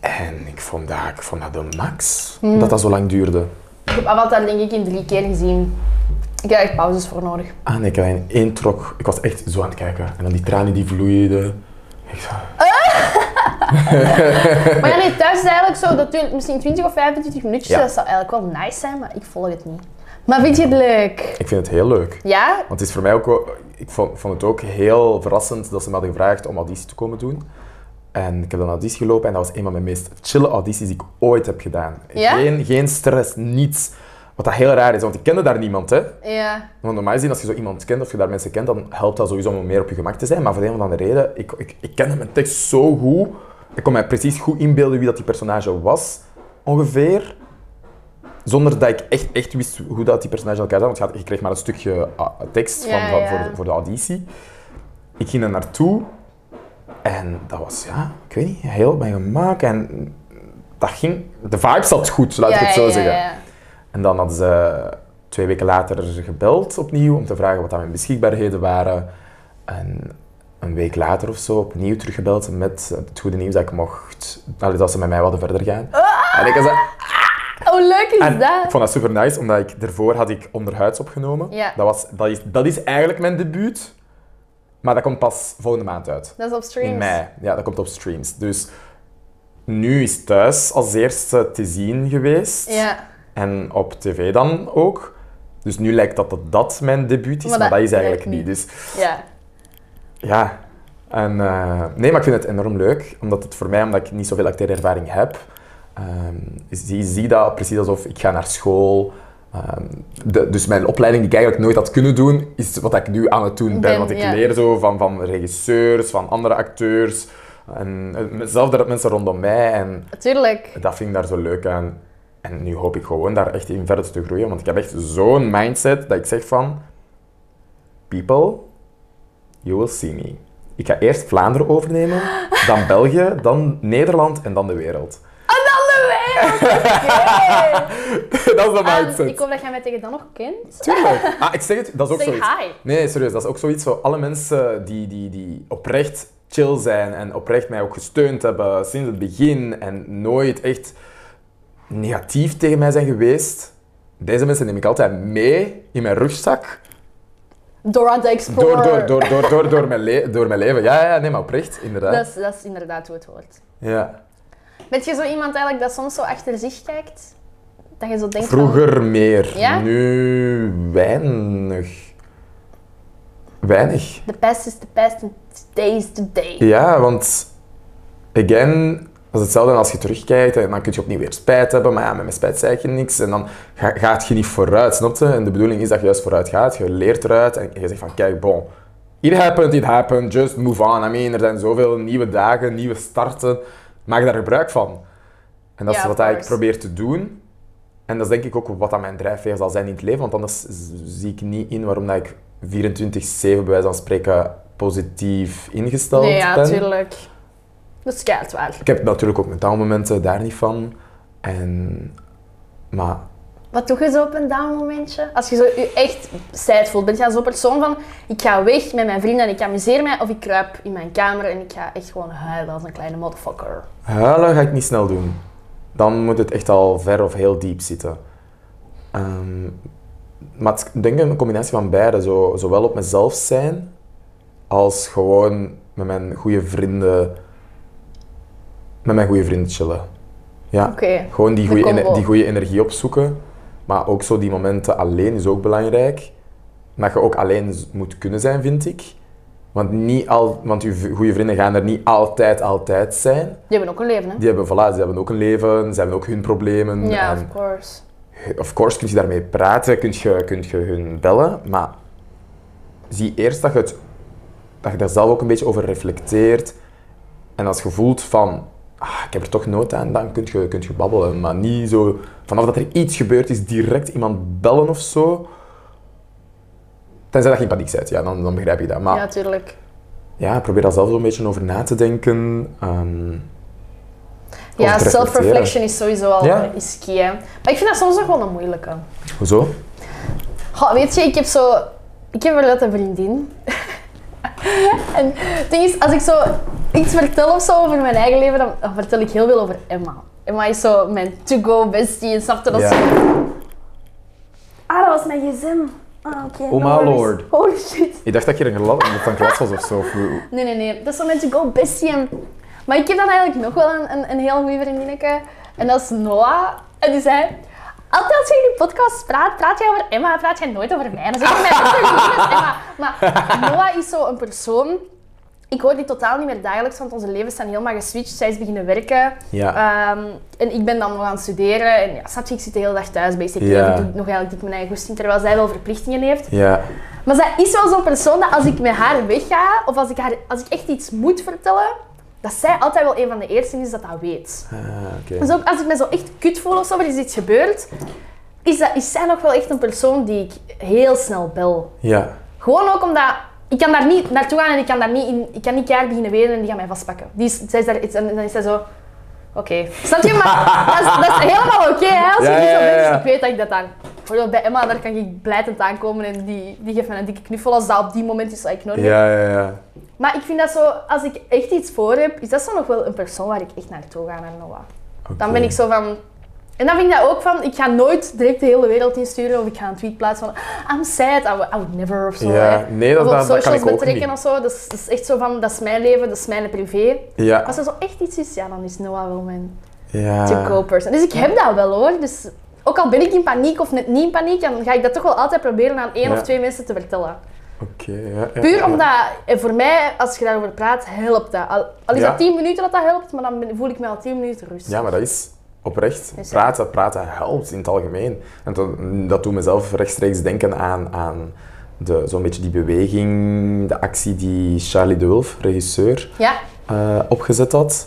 En ik vond dat, ik vond dat de max, dat dat zo lang duurde. Ik heb Avatar denk ik in drie keer gezien. Ik heb er echt pauzes voor nodig. Ah nee, ik had in één trok, ik was echt zo aan het kijken. En dan die tranen die vloeiden. Ik zo, Maar ja, nee, thuis is eigenlijk zo, dat duurt misschien 20 of 25 minuutjes. Ja. Dat zou eigenlijk wel nice zijn, maar ik volg het niet. Maar vind je het leuk? ik vind het heel leuk. Ja? Want het is voor mij ook wel, ik vond, vond het ook heel verrassend dat ze me hadden gevraagd om auditie te komen doen. En ik heb dan auditie gelopen en dat was een van mijn meest chille audities die ik ooit heb gedaan. Ja? Geen, geen stress, niets. Wat dat heel raar is, want ik kende daar niemand, hè. Ja. Want normaal gezien, als je zo iemand kent of je daar mensen kent, dan helpt dat sowieso om meer op je gemak te zijn. Maar voor de een of andere reden, ik, ik, ik kende mijn tekst zo goed. Ik kon mij precies goed inbeelden wie dat die personage was, ongeveer. Zonder dat ik echt, echt wist hoe dat die personage in elkaar zat. Want je, had- je kreeg maar een stukje ah, tekst van, Ja, van- ja. Voor, de- voor de auditie. Ik ging er naartoe. En dat was, ja, ik weet niet, heel op mijn gemak. En dat ging... De vibe zat goed, laat ja, ik het zo ja, zeggen. ja. En dan hadden ze twee weken later gebeld opnieuw om te vragen wat aan mijn beschikbaarheden waren. En een week later of zo opnieuw teruggebeld met het goede nieuws dat ik mocht, allee, dat ze met mij wilden verder gaan. Ah! En ik, was, Hoe leuk is en ik dat? vond dat super nice, omdat ik daarvoor had ik onderhuids opgenomen. Ja. Dat, was, dat, is, dat is eigenlijk mijn debuut, maar dat komt pas volgende maand uit. Dat is op streams. In mei. Ja, dat komt op streams. Dus nu is thuis als eerste te zien geweest. Ja. En op tv dan ook. Dus nu lijkt dat dat, dat mijn debuut is, maar, Maar dat dat is eigenlijk lijkt niet. Dus Ja. ja. En, eh, nee, maar ik vind het enorm leuk, omdat het voor mij, omdat ik niet zoveel acteerervaring heb, ehm, zie, zie dat precies alsof ik ga naar school. ehm, de, dus mijn opleiding die ik eigenlijk nooit had kunnen doen, is wat ik nu aan het doen ben. Ben, want ik ja. leer zo van, van regisseurs, van andere acteurs, en eh, zelf de mensen rondom mij. En Tuurlijk. dat vind ik daar zo leuk aan. En nu hoop ik gewoon daar echt in verder te groeien. Want ik heb echt zo'n mindset dat ik zeg van... People, you will see me. Ik ga eerst Vlaanderen overnemen, dan België, dan Nederland en dan de wereld. En Oh, dan de want dat is gay. dat is de Ah, mindset. ik hoop dat jij mij tegen dan nog kent. Tuurlijk. Ah, ik zeg het, dat is ook Say zoiets. hi. Nee, serieus, dat is ook zoiets. Zo, alle mensen die, die, die oprecht chill zijn en oprecht mij ook gesteund hebben sinds het begin en nooit echt negatief tegen mij zijn geweest, deze mensen neem ik altijd mee in mijn rugzak. Dora the Door, door, Explorer. door, door, door, door, mijn, le- door mijn leven. Ja, ja, nee, maar oprecht, inderdaad. Dat, is, dat is inderdaad hoe het hoort. Ja. Bent je zo iemand eigenlijk dat soms zo achter zich kijkt? Dat je zo denkt van- Vroeger meer, Ja? nu weinig. Weinig. The past is the past and today is the day. Ja, want again, dat is hetzelfde als je terugkijkt en dan kun je opnieuw weer spijt hebben, maar ja, met mijn spijt zei je niks en dan ga, gaat je niet vooruit, snap je? En de bedoeling is dat je juist vooruit gaat, je leert eruit en je zegt van kijk, bon, it happened, it happened, just move on. I mean, er zijn zoveel nieuwe dagen, nieuwe starten, maak daar gebruik van. En dat Ja, is of wat ik course. probeer te doen. En dat is denk ik ook wat aan mijn drijfveer zal zijn in het leven, want anders z- zie ik niet in waarom dat ik 24-7 bij wijze van spreken positief ingesteld nee, ja, ben. tuurlijk. Dat is keihard waar. Ik heb natuurlijk ook mijn downmomenten, daar niet van. En, maar Wat doe je zo op een down momentje? Als je zo je echt sad voelt, ben je dan zo'n persoon van ik ga weg met mijn vrienden en ik amuseer mij of ik kruip in mijn kamer en ik ga echt gewoon huilen als een kleine motherfucker. huilen ga ik niet snel doen. Dan moet het echt al ver of heel diep zitten. Ehm, maar het- ik denk een combinatie van beide. Zo, zowel op mezelf zijn, als gewoon met mijn goede vrienden... Met mijn goede vrienden chillen. Ja. Oké. Gewoon die De goede, combo. ener- die goede energie opzoeken. Maar ook zo die momenten alleen is ook belangrijk. Dat je ook alleen z- moet kunnen zijn, vind ik. Want, niet al, want je v- goede vrienden gaan er niet altijd, altijd zijn. Die hebben ook een leven, hè? Die hebben, voilà, ze hebben ook een leven, ze hebben ook hun problemen. Ja, En of course. of course kun je daarmee praten, kun je, kun je hun bellen. Maar zie eerst dat je, het, dat je daar zelf ook een beetje over reflecteert. En als je voelt van, ah, ik heb er toch nood aan, dan kun je, kun je babbelen. Maar niet zo, vanaf dat er iets gebeurd is, direct iemand bellen of zo. Tenzij dat je in paniek bent, ja, dan, dan begrijp ik dat. Maar Ja, tuurlijk. ja, probeer daar zelf wel een beetje over na te denken. Ehm, Ja, te self-reflection is sowieso al Ja. eh, is key, hè. Maar ik vind dat soms nog wel een moeilijke. hoezo? Goh, weet je, ik heb zo... Ik heb inderdaad een vriendin. en het ding is, als ik zo iets vertel of zo over mijn eigen leven, dan, dan vertel ik heel veel over Emma. Emma is zo mijn to-go bestie en snapte dat Ja. zo... Ah, dat was mijn gsm. Ah, oké. Oh my lord. Holy shit. Ik dacht dat je er een glas dat het een glas was of zo. of hoe- Nee, nee, nee. Dat is zo mijn to-go bestie. En... Maar ik heb dan eigenlijk nog wel een, een, een heel goede vriendinneke. En dat is Noah. En die zei... Altijd als je in die podcast praat, praat jij over Emma, praat jij nooit over mij. En Dan zeg ik, mijn beste vriendin is Emma. Maar Noah is zo een persoon... Ik hoor die totaal niet meer dagelijks, want onze levens zijn helemaal geswitcht. Zij is beginnen werken. Ja. Ehm, en ik ben dan nog aan het studeren. En ja, snap je, ik zit de hele dag thuis basically. Ja. En Ik doe nog eigenlijk dik mijn eigen goesting, terwijl zij wel verplichtingen heeft. Ja, Maar zij is wel zo'n persoon dat als ik met haar wegga, of als ik, haar, als ik echt iets moet vertellen, dat zij altijd wel een van de eersten is dat dat weet. Ah, oké. Dus ook als ik me zo echt kut voel of zo, er is iets gebeurd, is, dat, is zij nog wel echt een persoon die ik heel snel bel. Ja, Gewoon ook omdat ik kan daar niet naartoe gaan en ik kan daar niet in, ik kan niet keihard beginnen wenen en die gaan mij vastpakken. Die is, zij is daar, is- en dan is zij zo. Oké. Snap je? Maar dat is, dat is helemaal oké, hè? Als je Ja, niet ja, zo ja, bent, dus ja. ik weet dat ik dat aan. Bijvoorbeeld bij Emma, daar kan ik blijdend aankomen en die, die geeft me een dikke knuffel als dat op die moment is dat ik nodig heb. ja, ja. ja. Maar ik vind dat zo, als ik echt iets voor heb, is dat zo nog wel een persoon waar ik echt naartoe ga, naar Noah. Dan ben ik zo van. En dan vind ik dat ook van, ik ga nooit direct de hele wereld insturen of ik ga een tweet plaatsen van I'm sad, I would, I would never of Ja, zo. hè. nee, dat- Of op dat- dat kan socials ik ook betrekken niet. of zo, dat is, dat is echt zo van, dat is mijn leven, dat is mijn privé. Ja. Als er zo echt iets is, ja, dan is Noah wel mijn ja. to-go person. Dus ik heb dat wel hoor, dus ook al ben ik in paniek of net niet in paniek, dan ga ik dat toch wel altijd proberen aan één Ja. of twee mensen te vertellen. Oké, ja, ja, Puur ja. omdat, en voor mij, als je daarover praat, helpt dat. Al, al is Ja. dat tien minuten dat dat helpt, maar dan ben- voel ik me al tien minuten rust. Ja, maar dat is oprecht. Dus ja. Praten, praten helpt in het algemeen. En dat, dat doet mezelf rechtstreeks denken aan, aan de- zo'n beetje die beweging, de actie die Charlie de Wulf, regisseur, Ja, eh, opgezet had.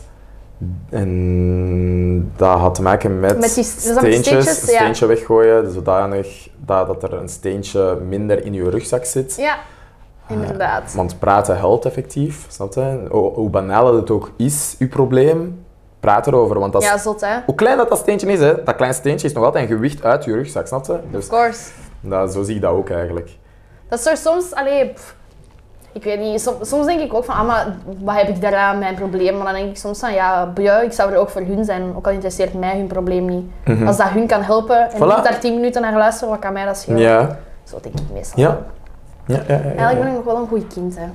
En dat had te maken met, Met die- dus dat met die steentjes, steentjes, een ja. steentje weggooien, zodanig dat, dat er een steentje minder in je rugzak zit. ja. Eh, Inderdaad. Want praten helpt effectief, snap je? Hoe, hoe banaal het ook is, uw probleem, praat erover. Want dat is- Ja, zot hè. hoe klein dat, dat steentje is, hè, dat klein steentje is nog altijd een gewicht uit je rugzak, snap je? Dus Of course. dat, zo zie ik dat ook eigenlijk. Dat is toch soms, allee, pff, ik weet niet, som- soms denk ik ook van, ah, maar wat heb ik daaraan, mijn probleem? Maar dan denk ik soms van, ja, boeien, ik zou er ook voor hun zijn, ook al interesseert mij hun probleem niet. Mhm. Als Mhm. dat hun kan helpen en Voilà. niet daar 10 minuten naar luisteren, wat kan mij dat schelen? Ja. Zo denk ik meestal. Ja. Ja, ja, ja, ja, Eigenlijk ja. ben ik nog wel een goed kind, hè.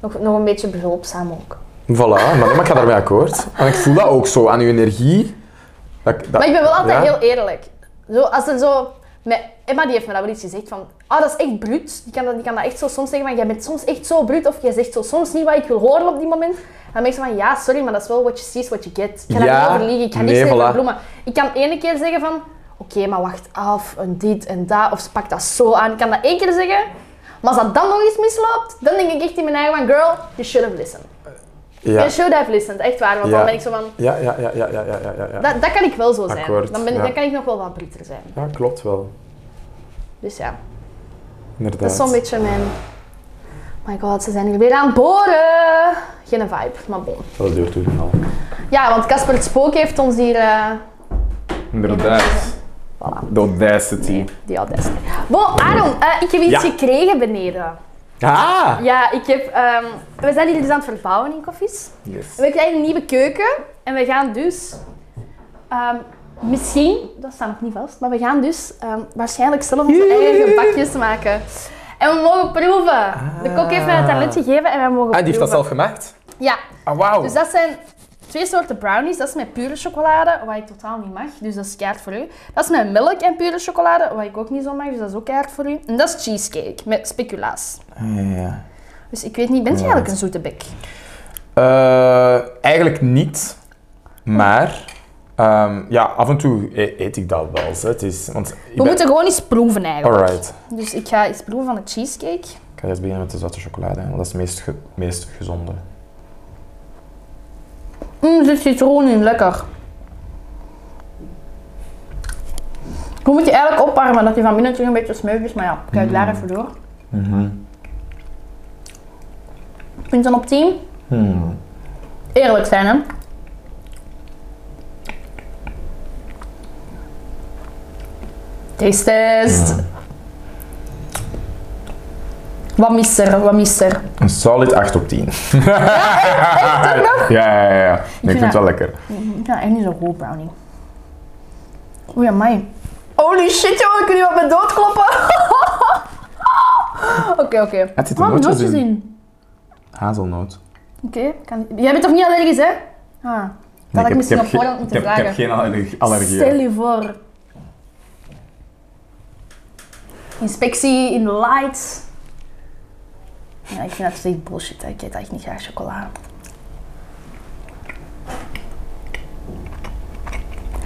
Nog, nog een beetje behulpzaam ook. Voilà, maar ik ga daarmee akkoord. En ik voel dat ook zo aan uw energie. Dat, ik- dat- Maar ik ben wel altijd ja. heel eerlijk. Zo, als er zo... Met, Emma die heeft me dat wel iets gezegd van... Ah, dat is echt bruut. Die kan dat, die kan dat echt zo soms zeggen van... Jij bent soms echt zo bruut. Of jij zegt zo soms niet wat ik wil horen op die moment. Dan ben ik zo van... Ja, sorry, maar dat is wel what you see is what you get. Ik kan Ja, daar niet over liegen. Ik ga niks nee, zeggen voilà. van bloemen. Ik kan ene keer zeggen van... Oké, maar wacht af. En dit en dat. Of ze pakt dat zo aan. Ik kan dat één keer zeggen. Maar als dat dan nog eens misloopt, dan denk ik echt in mijn eigen van... Girl, you should have listened. Ja. You should have listened. Echt waar. Want Ja. dan ben ik zo van... Ja, ja, ja, ja, ja, ja, ja, ja, ja. Dat, dat kan ik wel zo zijn. Akkoord, dan, ben ik, ja. dan kan ik nog wel wat brieter zijn. Ja, klopt wel. Dus ja, Inderdaad. dat is zo'n beetje mijn... My god, ze zijn hier weer aan het boren! Geen vibe, maar bon. Dat duurt toen al. Ja, want Casper het Spook heeft ons hier... eh, Inderdaad. Voilà. The audacity. Die audacity. Bon, Aaron, eh, ik heb iets Ja. gekregen beneden. Ah! Ja, ik heb... ehm, we zijn hier dus aan het verbouwen in Koffies. Yes. En we krijgen een nieuwe keuken. En we gaan dus... ehm, misschien, dat staat nog niet vast, maar we gaan dus ehm, waarschijnlijk zelf onze eigen gebakjes maken. En we mogen proeven. De kok heeft mij het talent gegeven en wij mogen Ah, die heeft proeven. dat zelf gemaakt? Ja, Ah, wauw. dus dat zijn twee soorten brownies. Dat is met pure chocolade, wat ik totaal niet mag. Dus dat is kaart voor u. Dat is met melk en pure chocolade, wat ik ook niet zo mag. Dus dat is ook kaart voor u. En dat is cheesecake met speculaas. Ah, ja. Dus ik weet niet, bent je eigenlijk een zoete bek? Eh, eigenlijk niet. Maar... ehm, ja, af en toe e- eet ik dat wel. Zo. Het is, want ik We moeten gewoon eens proeven eigenlijk. Alright. Dus ik ga eens proeven van de cheesecake. Ik ga eerst beginnen met de zwarte chocolade, hè, want dat is het meest, ge- meest gezonde. Mmm, er zit citroen in, lekker. Hoe moet je eigenlijk opwarmen dat die van binnen natuurlijk een beetje smeug is, maar ja, kijk daar even door. Mhm. Punt dan op 10. Hmm. Eerlijk zijn, hè? Taste test. Wat mist er? Wat mist er? Een solid 8 op 10. ja, ja, ja. ja. Nee, ik vind dat- het wel lekker. Ik ben echt niet zo goed, brownie. Oei, amai. Holy shit, joh, ik kan nu op mijn dood kloppen. Oké, oké. Het zitten Wat nootjes nootjes in. in? Hazelnoot. Oké, kan... jij bent toch niet allergisch, hè? Ah, dat had ik misschien op geen- voorhand moeten ik heb- vragen. Ik heb geen allergie. allergieën. Stel je voor. Inspectie in de lights. Ja, ik vind dat echt bullshit. hè. Ik eet echt niet graag chocola.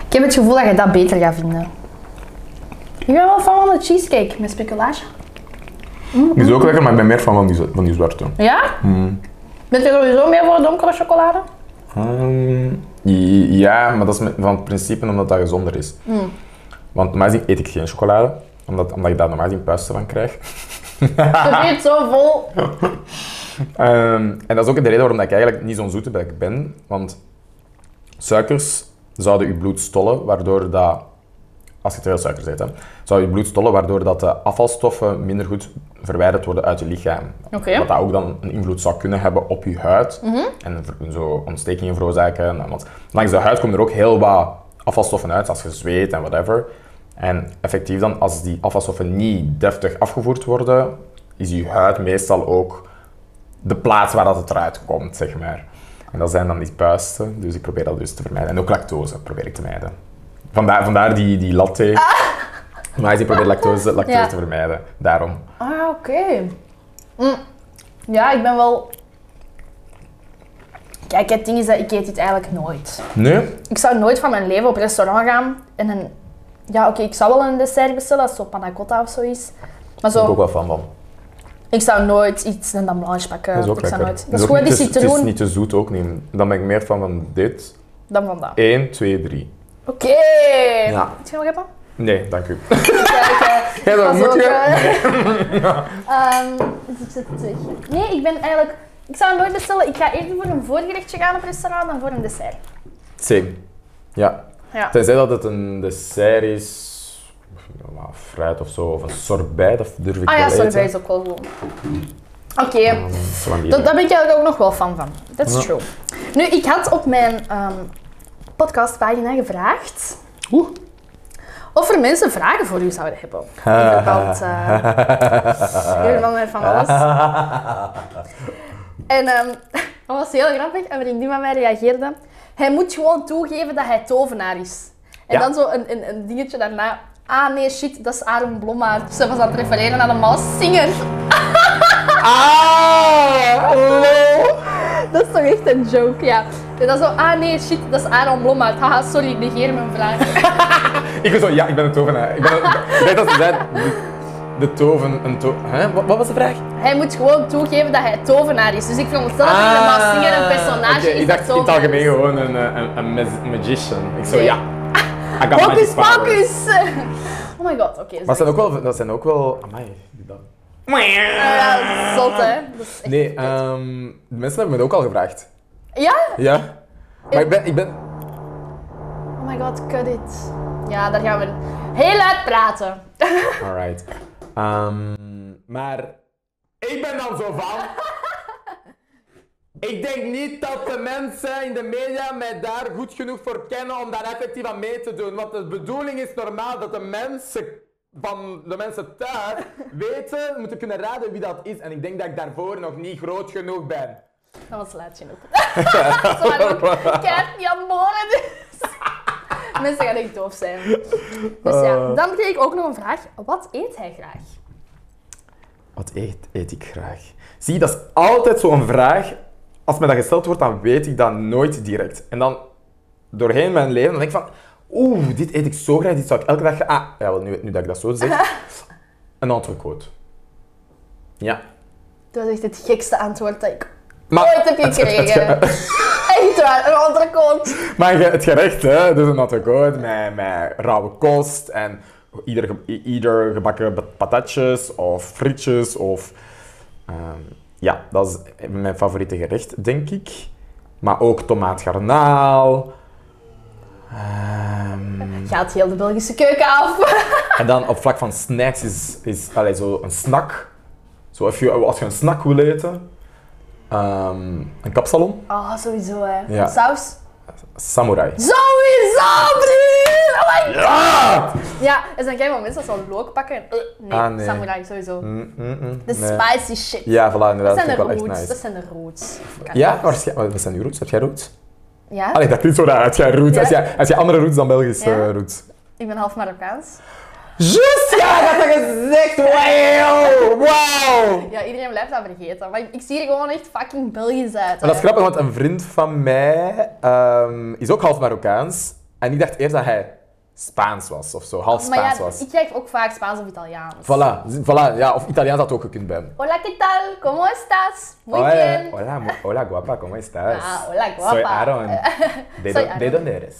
Ik heb het gevoel dat je dat beter gaat vinden. Ik ben wel fan van de cheesecake met speculaasje. Die is ook lekker, maar ik ben meer fan van die, z- van die zwarte. Ja? Ben je sowieso meer voor donkere chocolade? Ehm, i- ja, maar dat is met- van het principe omdat dat gezonder is. Want normaal gezien eet ik geen chocolade, omdat, omdat ik daar normaal gezien puisten van krijg. Je weet zo vol. Ehm, en dat is ook de reden waarom dat ik eigenlijk niet zo'n zoete bek ben. Want suikers zouden je bloed stollen, waardoor dat... Als je te veel suikers eet, hè, zou je bloed stollen, waardoor dat de afvalstoffen minder goed verwijderd worden uit je lichaam. Oké. Wat dat ook dan een invloed zou kunnen hebben op je huid. Mhm. En ver- zo ontstekingen veroorzaken. En Want langs de huid komen er ook heel wat afvalstoffen uit, als je zweet en whatever. En effectief dan, als die afvalstoffen niet deftig afgevoerd worden, is je huid meestal ook de plaats waar dat het eruit komt, zeg maar. En dat zijn dan die puisten, dus ik probeer dat dus te vermijden. En ook lactose probeer ik te mijden. Vandaar, vandaar die, die latte. Maar ik probeer lactose, lactose Ah. Ja. te vermijden, daarom. Ah, oké. Mm. Ja, ik ben wel... Kijk, het ding is dat ik eet dit eigenlijk nooit. Nu? Ik zou nooit van mijn leven op restaurant gaan en een... Ja, oké, ik zou wel een dessert bestellen, als het zo panna cotta of zo is. Maar Daar ben ik ook zo, wel fan van. ik zou nooit iets een dame blanche pakken. Dat is ook Eh, ik zou lekker. nooit. Het Dat is ook gewoon die niet te- Het is citroen niet te zoet ook niet. Dan ben ik meer van, van dit. dan van dat. 1, 2, 3. Oké. Eh. Ja. Moet je nog hebben? Nee, dank u. Kijk, eh, Ja, dat ik was moet ook, je. eh, Ehm, dus ik zit terug. Nee, ik ben eigenlijk... Ik zou het nooit bestellen. Ik ga eerder voor een voorgerechtje gaan op restaurant dan voor een dessert. Same. Ja. Ja. Tenzij dat het een dessert is, ja, fruit of zo, of een sorbet, dat durf ik Ah ja, wel sorbet eten. is ook wel gewoon. Oké, Mm, van die dat- daar ben ik eigenlijk ook nog wel fan van. That's Ja. true. Nu, ik had op mijn ehm, podcastpagina gevraagd Oeh. of er mensen vragen voor u zouden hebben. In Ah. verband eh, hiervan en van alles. En ehm, dat was heel grappig. En vriendin van mij reageerde. Hij moet gewoon toegeven dat hij tovenaar is. En Ja. dan zo een, een, een dingetje daarna. Ah nee, shit, dat is Aaron Blommaert. Ze was aan het refereren aan een maas singer. Ah! lol. Dat is toch echt een joke, ja. En dan zo, ah nee, shit, dat is Aaron Blommaert. Haha, sorry, ik negeer mijn vraag. Ik was zo, ja, ik ben een tovenaar. Ik ben ik weet dat ze zei, de, de toven, een to... Hè? Wat, wat was de vraag? hij moet gewoon toegeven dat hij tovenaar is. Dus ik veronderstel dat hij een maas singer een personage oké, is Ik dat dacht Ah, in het tovenaar algemeen is. gewoon een, eh, een, een mag- magician. Ik zo, Nee. ja. I got Hocus magic powers. pocus! Oh my god, oké. Maar dat dat zijn ook wel... Dat zijn ook wel... Ah, Amai. dat- is zot, hè. Dat is echt Nee, kut. ehm, de mensen hebben me dat ook al gevraagd. Ja? Ja. Maar ik ben... Ik ben Oh my god, cut it. Ja, daar gaan we heel uit praten. Alright. Ehm, maar ik ben dan zo van. Ik denk niet dat de mensen in de media mij daar goed genoeg voor kennen om daar effectief aan mee te doen. Want de bedoeling is normaal dat de mensen van de mensen thuis weten, moeten kunnen raden wie dat is. En ik denk dat ik daarvoor nog niet groot genoeg ben. Dat was laat genoeg. Ze waren ook keihard niet aan het boren, dus... Mensen gaan echt doof zijn. Dus ja, Eh. dan kreeg ik ook nog een vraag. Wat eet hij graag? Wat eet, eet ik graag? Zie, dat is altijd zo'n vraag. Als me dat gesteld wordt, dan weet ik dat nooit direct. En dan doorheen mijn leven, dan denk ik van... Oeh, dit eet ik zo graag, dit zou ik elke dag... ga- Ah, ja, wel, nu, nu dat ik dat zo zeg. Een entrecote. Ja. Dat is echt het gekste antwoord dat ik Maar, ooit heb het- het- het- gekregen. Echt waar, een andere kant. maar ge- het gerecht, hè. Dus een entrecote met, met rauwe kost en ieder, ge- i- ieder gebakken pa- patatjes of frietjes of... ehm, ja, dat is mijn favoriete gerecht, denk ik. Maar ook tomaatgarnaal. Ehm, Gaat heel de Belgische keuken af. en dan op vlak van snacks is, is allee, zo een snack. Zo if you- als je een snack wil eten. ehm, een kapsalon. Oh, sowieso hè. Ja. Saus. Samurai. Sowieso, vriend! Oh my Ja! Ja, er zijn geen mensen dat zo'n look pakken en eh, nee, Ah, nee. samurai sowieso. Mm, mm, mm, De nee. spicy shit. Ja, voilà, inderdaad. dat vind zijn de ik wel echt roots. nice. Dat zijn de roots. Ja, waarschijnlijk. Wat zijn uw roots? Heb jij roots? Ja? Allee, dat klinkt zo raar. Heb jij roots? Ja. Als, jij, als jij andere roots dan Belgische Ja. eh, roots? Ik ben half Marokkaans. Just ja, dat had gezegd. Wow, wow. Ja, iedereen blijft dat vergeten. Maar ik, ik zie er gewoon echt fucking Belgisch uit. Maar dat is hè. grappig, want een vriend van mij ehm, is ook half Marokkaans. En ik dacht eerst dat hij Spaans was of zo, half Maar Spaans ja, was. ik krijg ook vaak Spaans of Italiaans. Voilà, z- voilà, ja, of Italiaans had ook gekund bij hem. Hola, ¿qué tal? ¿Cómo estás? Muy Hola, bien. Hola, mu- hola guapa, ¿cómo estás? Ah, hola, guapa. Soy Aaron. De, Soy do- Aaron. de donde eres?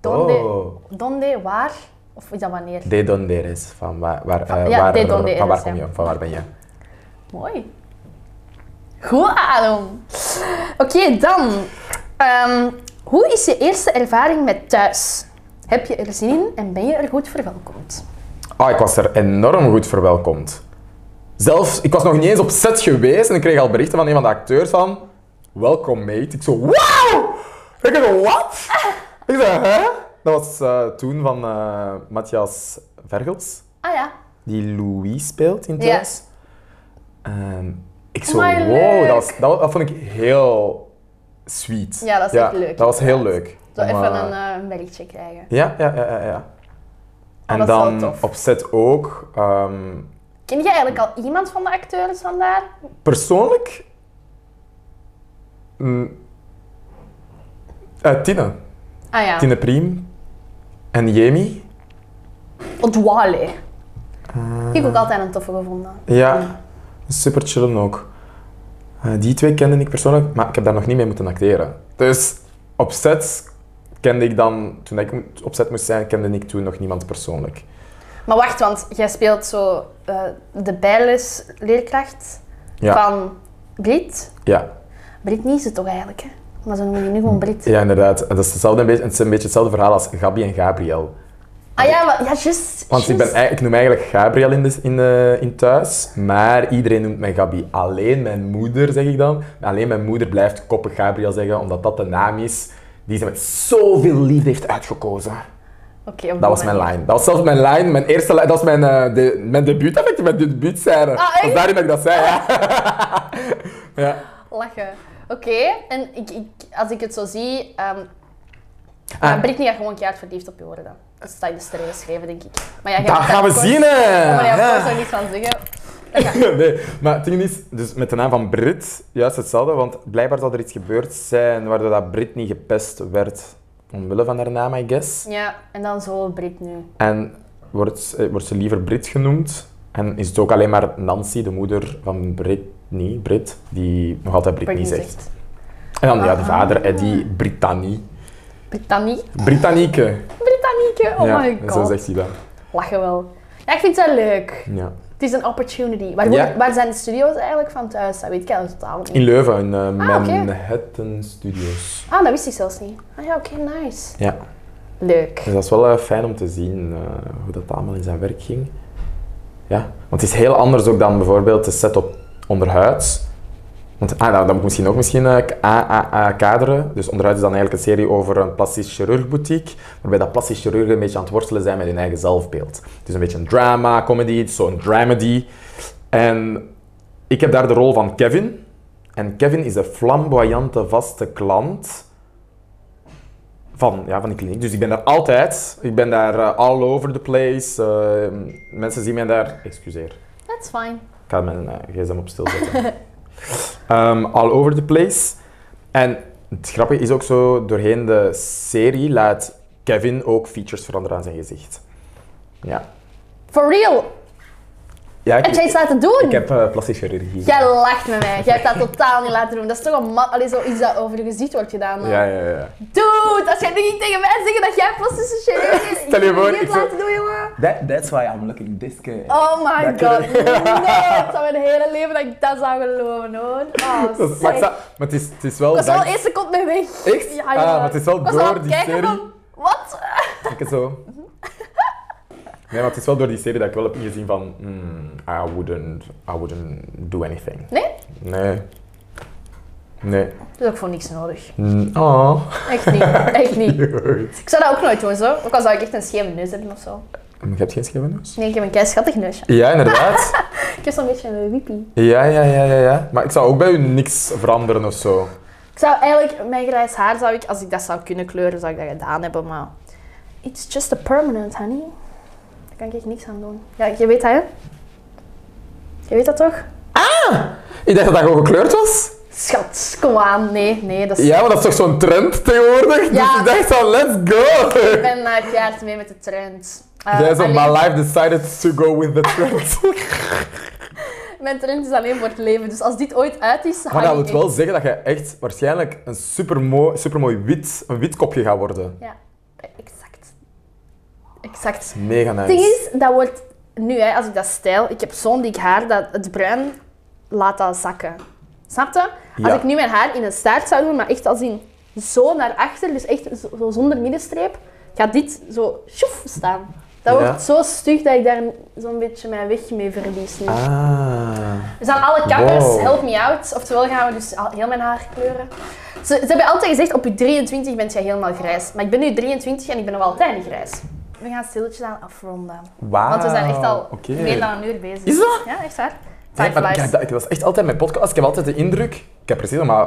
Donde, Oh. donde, waar? Of is dat wanneer? De donde eres? Van waar, waar, eh, ja, waar, de donde van waar eres, kom ja. je? Van waar ben je? Mooi. Goed, Adam. Oké, dan. Ehm, hoe is je eerste ervaring met thuis? Heb je er zin in en ben je er goed verwelkomd? Ah, ik was er enorm goed verwelkomd. Zelfs, ik was nog niet eens op set geweest en ik kreeg al berichten van een van de acteurs van... Welkom, mate. Ik zo, wauw! Ik zo, wat? Ik zei, hè? Dat was eh, toen van eh, Matthias Vergels, Ah ja. die Louis speelt in Ja. thuis. Ehm, ik zo, Amai, wow, leuk. dat, was, dat, was- dat vond ik heel sweet. Ja, dat is echt leuk, Dat was heel inderdaad. leuk. Zo om, even eh, een eh, een berichtje krijgen. ja, ja, ja, ja, ja. En Ah, dat is wel dan tof. op set ook. ehm, Ken jij eigenlijk al iemand van de acteurs vandaar? persoonlijk. Mm, eh, Tine. Ah ja. Tine Priem. En Jemi. Odwale. Ah. Die heb ik ook altijd een toffe gevonden. Ja, super chillen ook. Eh, die twee kende ik persoonlijk, maar ik heb daar nog niet mee moeten acteren. Dus op set kende ik dan, toen ik mo- op set moest zijn, kende ik toen nog niemand persoonlijk. Maar wacht, want jij speelt zo eh, de bijlesleerkracht Ja, van Brit. ja. Britney is het toch eigenlijk, hè? Maar ze noemen die nu gewoon Brit. Ja, inderdaad. Dat is hetzelfde, een beetje, het is een beetje hetzelfde verhaal als Gabi en Gabriel. Ah ja, maar, ja, juist. Want ik, ben, juist. eigenlijk- ik noem eigenlijk Gabriel in, de, in, eh, in thuis, maar iedereen noemt mij Gabi. Alleen mijn moeder, zeg ik dan. Alleen mijn moeder blijft koppig Gabriel zeggen, omdat dat de naam is die ze met zoveel liefde heeft uitgekozen. Oké, op Dat die was mijn manier. line. Dat was zelfs mijn line, mijn eerste line. Dat was mijn, eh, de, mijn debuut, dat ik mijn debuutscène. echt? dat is daarin dat ik dat zei, ja. ja. Lachen. Oké, en ik, ik, als ik het zo zie, ehm Ah, ja, Britney gaat gewoon keihard verliefd op je worden. Dat staat in de sterren geschreven, denk ik. Maar ja, jij dat mag gaan we kort- zien, Ja, hè. Ah. Maar jij Ja. mag er niet van zeggen. nee, maar het ding is, dus met de naam van Brit, juist hetzelfde, want blijkbaar zou er iets gebeurd zijn waardoor dat Brit niet gepest werd omwille van haar naam, I guess. Ja, en dan zo Brit nu. En wordt, eh, wordt ze liever Brit genoemd en is het ook alleen maar Nancy, de moeder van Britney, Brit, die nog altijd Britney, Britney zegt. En dan ja, de Ah. vader, Eddie, Britannie. Britannie? Britannieke. Britannieke, oh ja, my god. zo zegt hij dat. Lachen wel. Ja, ik vind dat leuk. Ja. Het is een opportunity. Waar, Ja. waar zijn de studio's eigenlijk van thuis? Dat weet ik eigenlijk totaal niet. In Leuven, in eh, Ah, oké. Manhattan Studios. Ah, dat wist ik zelfs niet. Ah ja, oké, nice. Ja. Leuk. Dus dat is wel eh, fijn om te zien eh, hoe dat allemaal in zijn werk ging. Ja, want het is heel anders ook dan bijvoorbeeld de setup onderhuids. Want ah, nou, dat moet ik misschien ook misschien eh, k- a- a- a- kaderen. Dus onderhuids is dan eigenlijk een serie over een plastisch chirurgboutique, waarbij dat plastisch chirurgen een beetje aan het worstelen zijn met hun eigen zelfbeeld. Dus een beetje een drama, comedy, het is zo'n dramedy. En ik heb daar de rol van Kevin. En Kevin is de flamboyante vaste klant van, ja, van die kliniek. Dus ik ben daar altijd. Ik ben daar eh, all over the place. Eh, mensen zien mij daar. Excuseer. That's fine. Ik ga mijn eh, gsm op stil zetten. Ehm, all over the place. En het grappige is ook zo, doorheen de serie laat Kevin ook features veranderen aan zijn gezicht. Ja. For real. Ja, Heb jij ik, iets laten doen? ik heb eh plastische chirurgie. Jij lacht met mij. Jij hebt dat totaal niet laten doen. Dat is toch een mat. Allee, zoiets dat over je gezicht wordt gedaan. man. Ja, ja, ja. Dude, als jij nu niet tegen mij zegt dat jij plastische chirurg bent, Stel je ik voor, heb ik het zou- laten doen, jongen. That, that's why I'm looking this good. Oh my Dat god. kun Nee, het zou mijn hele leven dat ik dat zou geloven, hoor. Oh, Dat is- maar ik zeg. sta- maar het is, het is wel... Ik was wel dank- één seconde mee weg. Echt? Ah, maar het is wel Ik was al door aan het die kijken serie. van, Wat? Ik het zo. Nee, maar het is wel door die serie dat ik wel heb ingezien van... hmm, I, wouldn't, I wouldn't do anything. Nee? Nee. Nee. Dat is ook voor niks nodig. Mm, Oh. Echt niet. Echt niet. Cute. Ik zou dat ook nooit doen, zo. Ook al zou ik echt een scheve neus hebben of zo. Maar Je hebt geen schevenneus? Nee, ik heb een kei schattig neusje. Ja, inderdaad. Ik heb zo'n beetje een wiepie. Ja, ja, ja, ja, ja. Maar ik zou ook bij u niks veranderen of zo. Ik zou eigenlijk, mijn grijs haar zou ik, als ik dat zou kunnen kleuren, zou ik dat gedaan hebben, maar... It's just a permanent, honey. Daar kan ik echt niks aan doen. Ja, je weet dat, hè? Je weet dat toch? Ik dacht dat dat gewoon gekleurd was. Schat, kom aan. Nee, nee, dat is... Ja, maar dat is toch zo'n trend tegenwoordig? Ja. Dus ik dacht van, let's go! Ik ben uh, keihard mee met de trend. Eh, Jij zo, alleen- my life decided to go with the trend. Mijn trend is alleen voor het leven, dus als dit ooit uit is, Maar hang dat ik wil wel echt- zeggen dat je echt waarschijnlijk een supermooi, supermooi wit, een wit kopje gaat worden. Ja, exact. Exact. Mega nice. Het ding is, dat wordt nu, hè, als ik dat stijl, ik heb zo'n dik haar dat het bruin laat dat zakken. Snap je? Ja. Als ik nu mijn haar in een staart zou doen, maar echt als in zo naar achter, dus echt zo, zo zonder middenstreep, gaat dit zo sjoef staan. Dat Ja. wordt zo stug dat ik daar zo'n beetje mijn weg mee verlies nu. Ah. Dus aan alle kappers, Wow. help me out. Oftewel gaan we dus al heel mijn haar kleuren. Ze, ze hebben altijd gezegd, op je 23 bent jij helemaal grijs. Maar ik ben nu 23 en ik ben nog altijd niet grijs. We gaan stilletjes aan afronden. Wauw. Want we zijn echt al Ah, Oké. meer dan een uur bezig. Is dat? Ja, echt waar. Time Nee, maar ik, flies. heb dat- ik was echt altijd met podcast. Ik heb altijd de indruk. Ik heb precies nog maar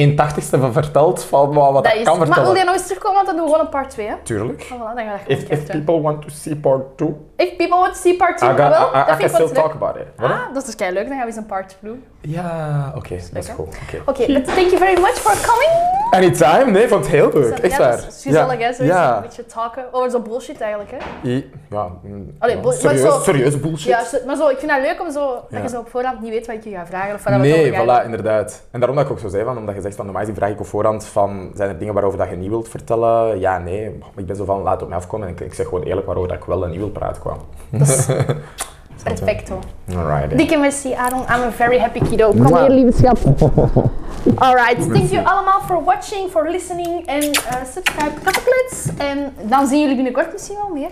180ste van verteld van wat, wat Dat ik is- kan maar vertellen. wil je nog eens terugkomen? Want dan doen we gewoon een part 2. Hè? Tuurlijk. Oh, voilà, dan gaan we dat gewoon If, if kijken. people want to see part 2, I, If people want to see part 2, got, wel, I, I- I dat can vind ik wel still talk leuk. about it. Wat? Ah, dat is kei leuk. Dan gaan we eens een part 2 doen. Ja, oké. dat is hè? goed. Oké. Oké, but thank you very much for coming. Anytime? Nee, ik vond het heel leuk. Echt ja, waar. dat is gezellig, hè? Sowieso Ja. een beetje talken over zo'n bullshit eigenlijk, hè? I- ja, mm, Allee, ja. bull- maar serieus, zo- serieus bullshit. Ja, zo- maar zo, ik vind dat leuk om zo, Ja. dat je zo op voorhand niet weet wat ik je ga vragen of waar we het nee, over gaan. voilà, inderdaad. En daarom dat ik ook zo zei, van, omdat je zegt van normaal gezien vraag ik op voorhand van zijn er dingen waarover dat je niet wilt vertellen? Ja, nee. Ik ben zo van laat op mij afkomen en ik, ik zeg gewoon eerlijk waarover dat ik wel en niet wil praten kwam. Dat is Perfecto. Alright. Dikke merci, Aaron. I'm a very happy kiddo. Kom Mwah. hier, lieve schat. Alright. Thank you allemaal for watching, for listening. En eh, subscribe, kappeklets. En dan zien jullie binnenkort misschien wel meer.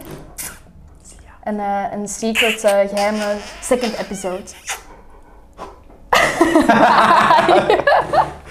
Een, eh, een secret, eh, geheime second episode.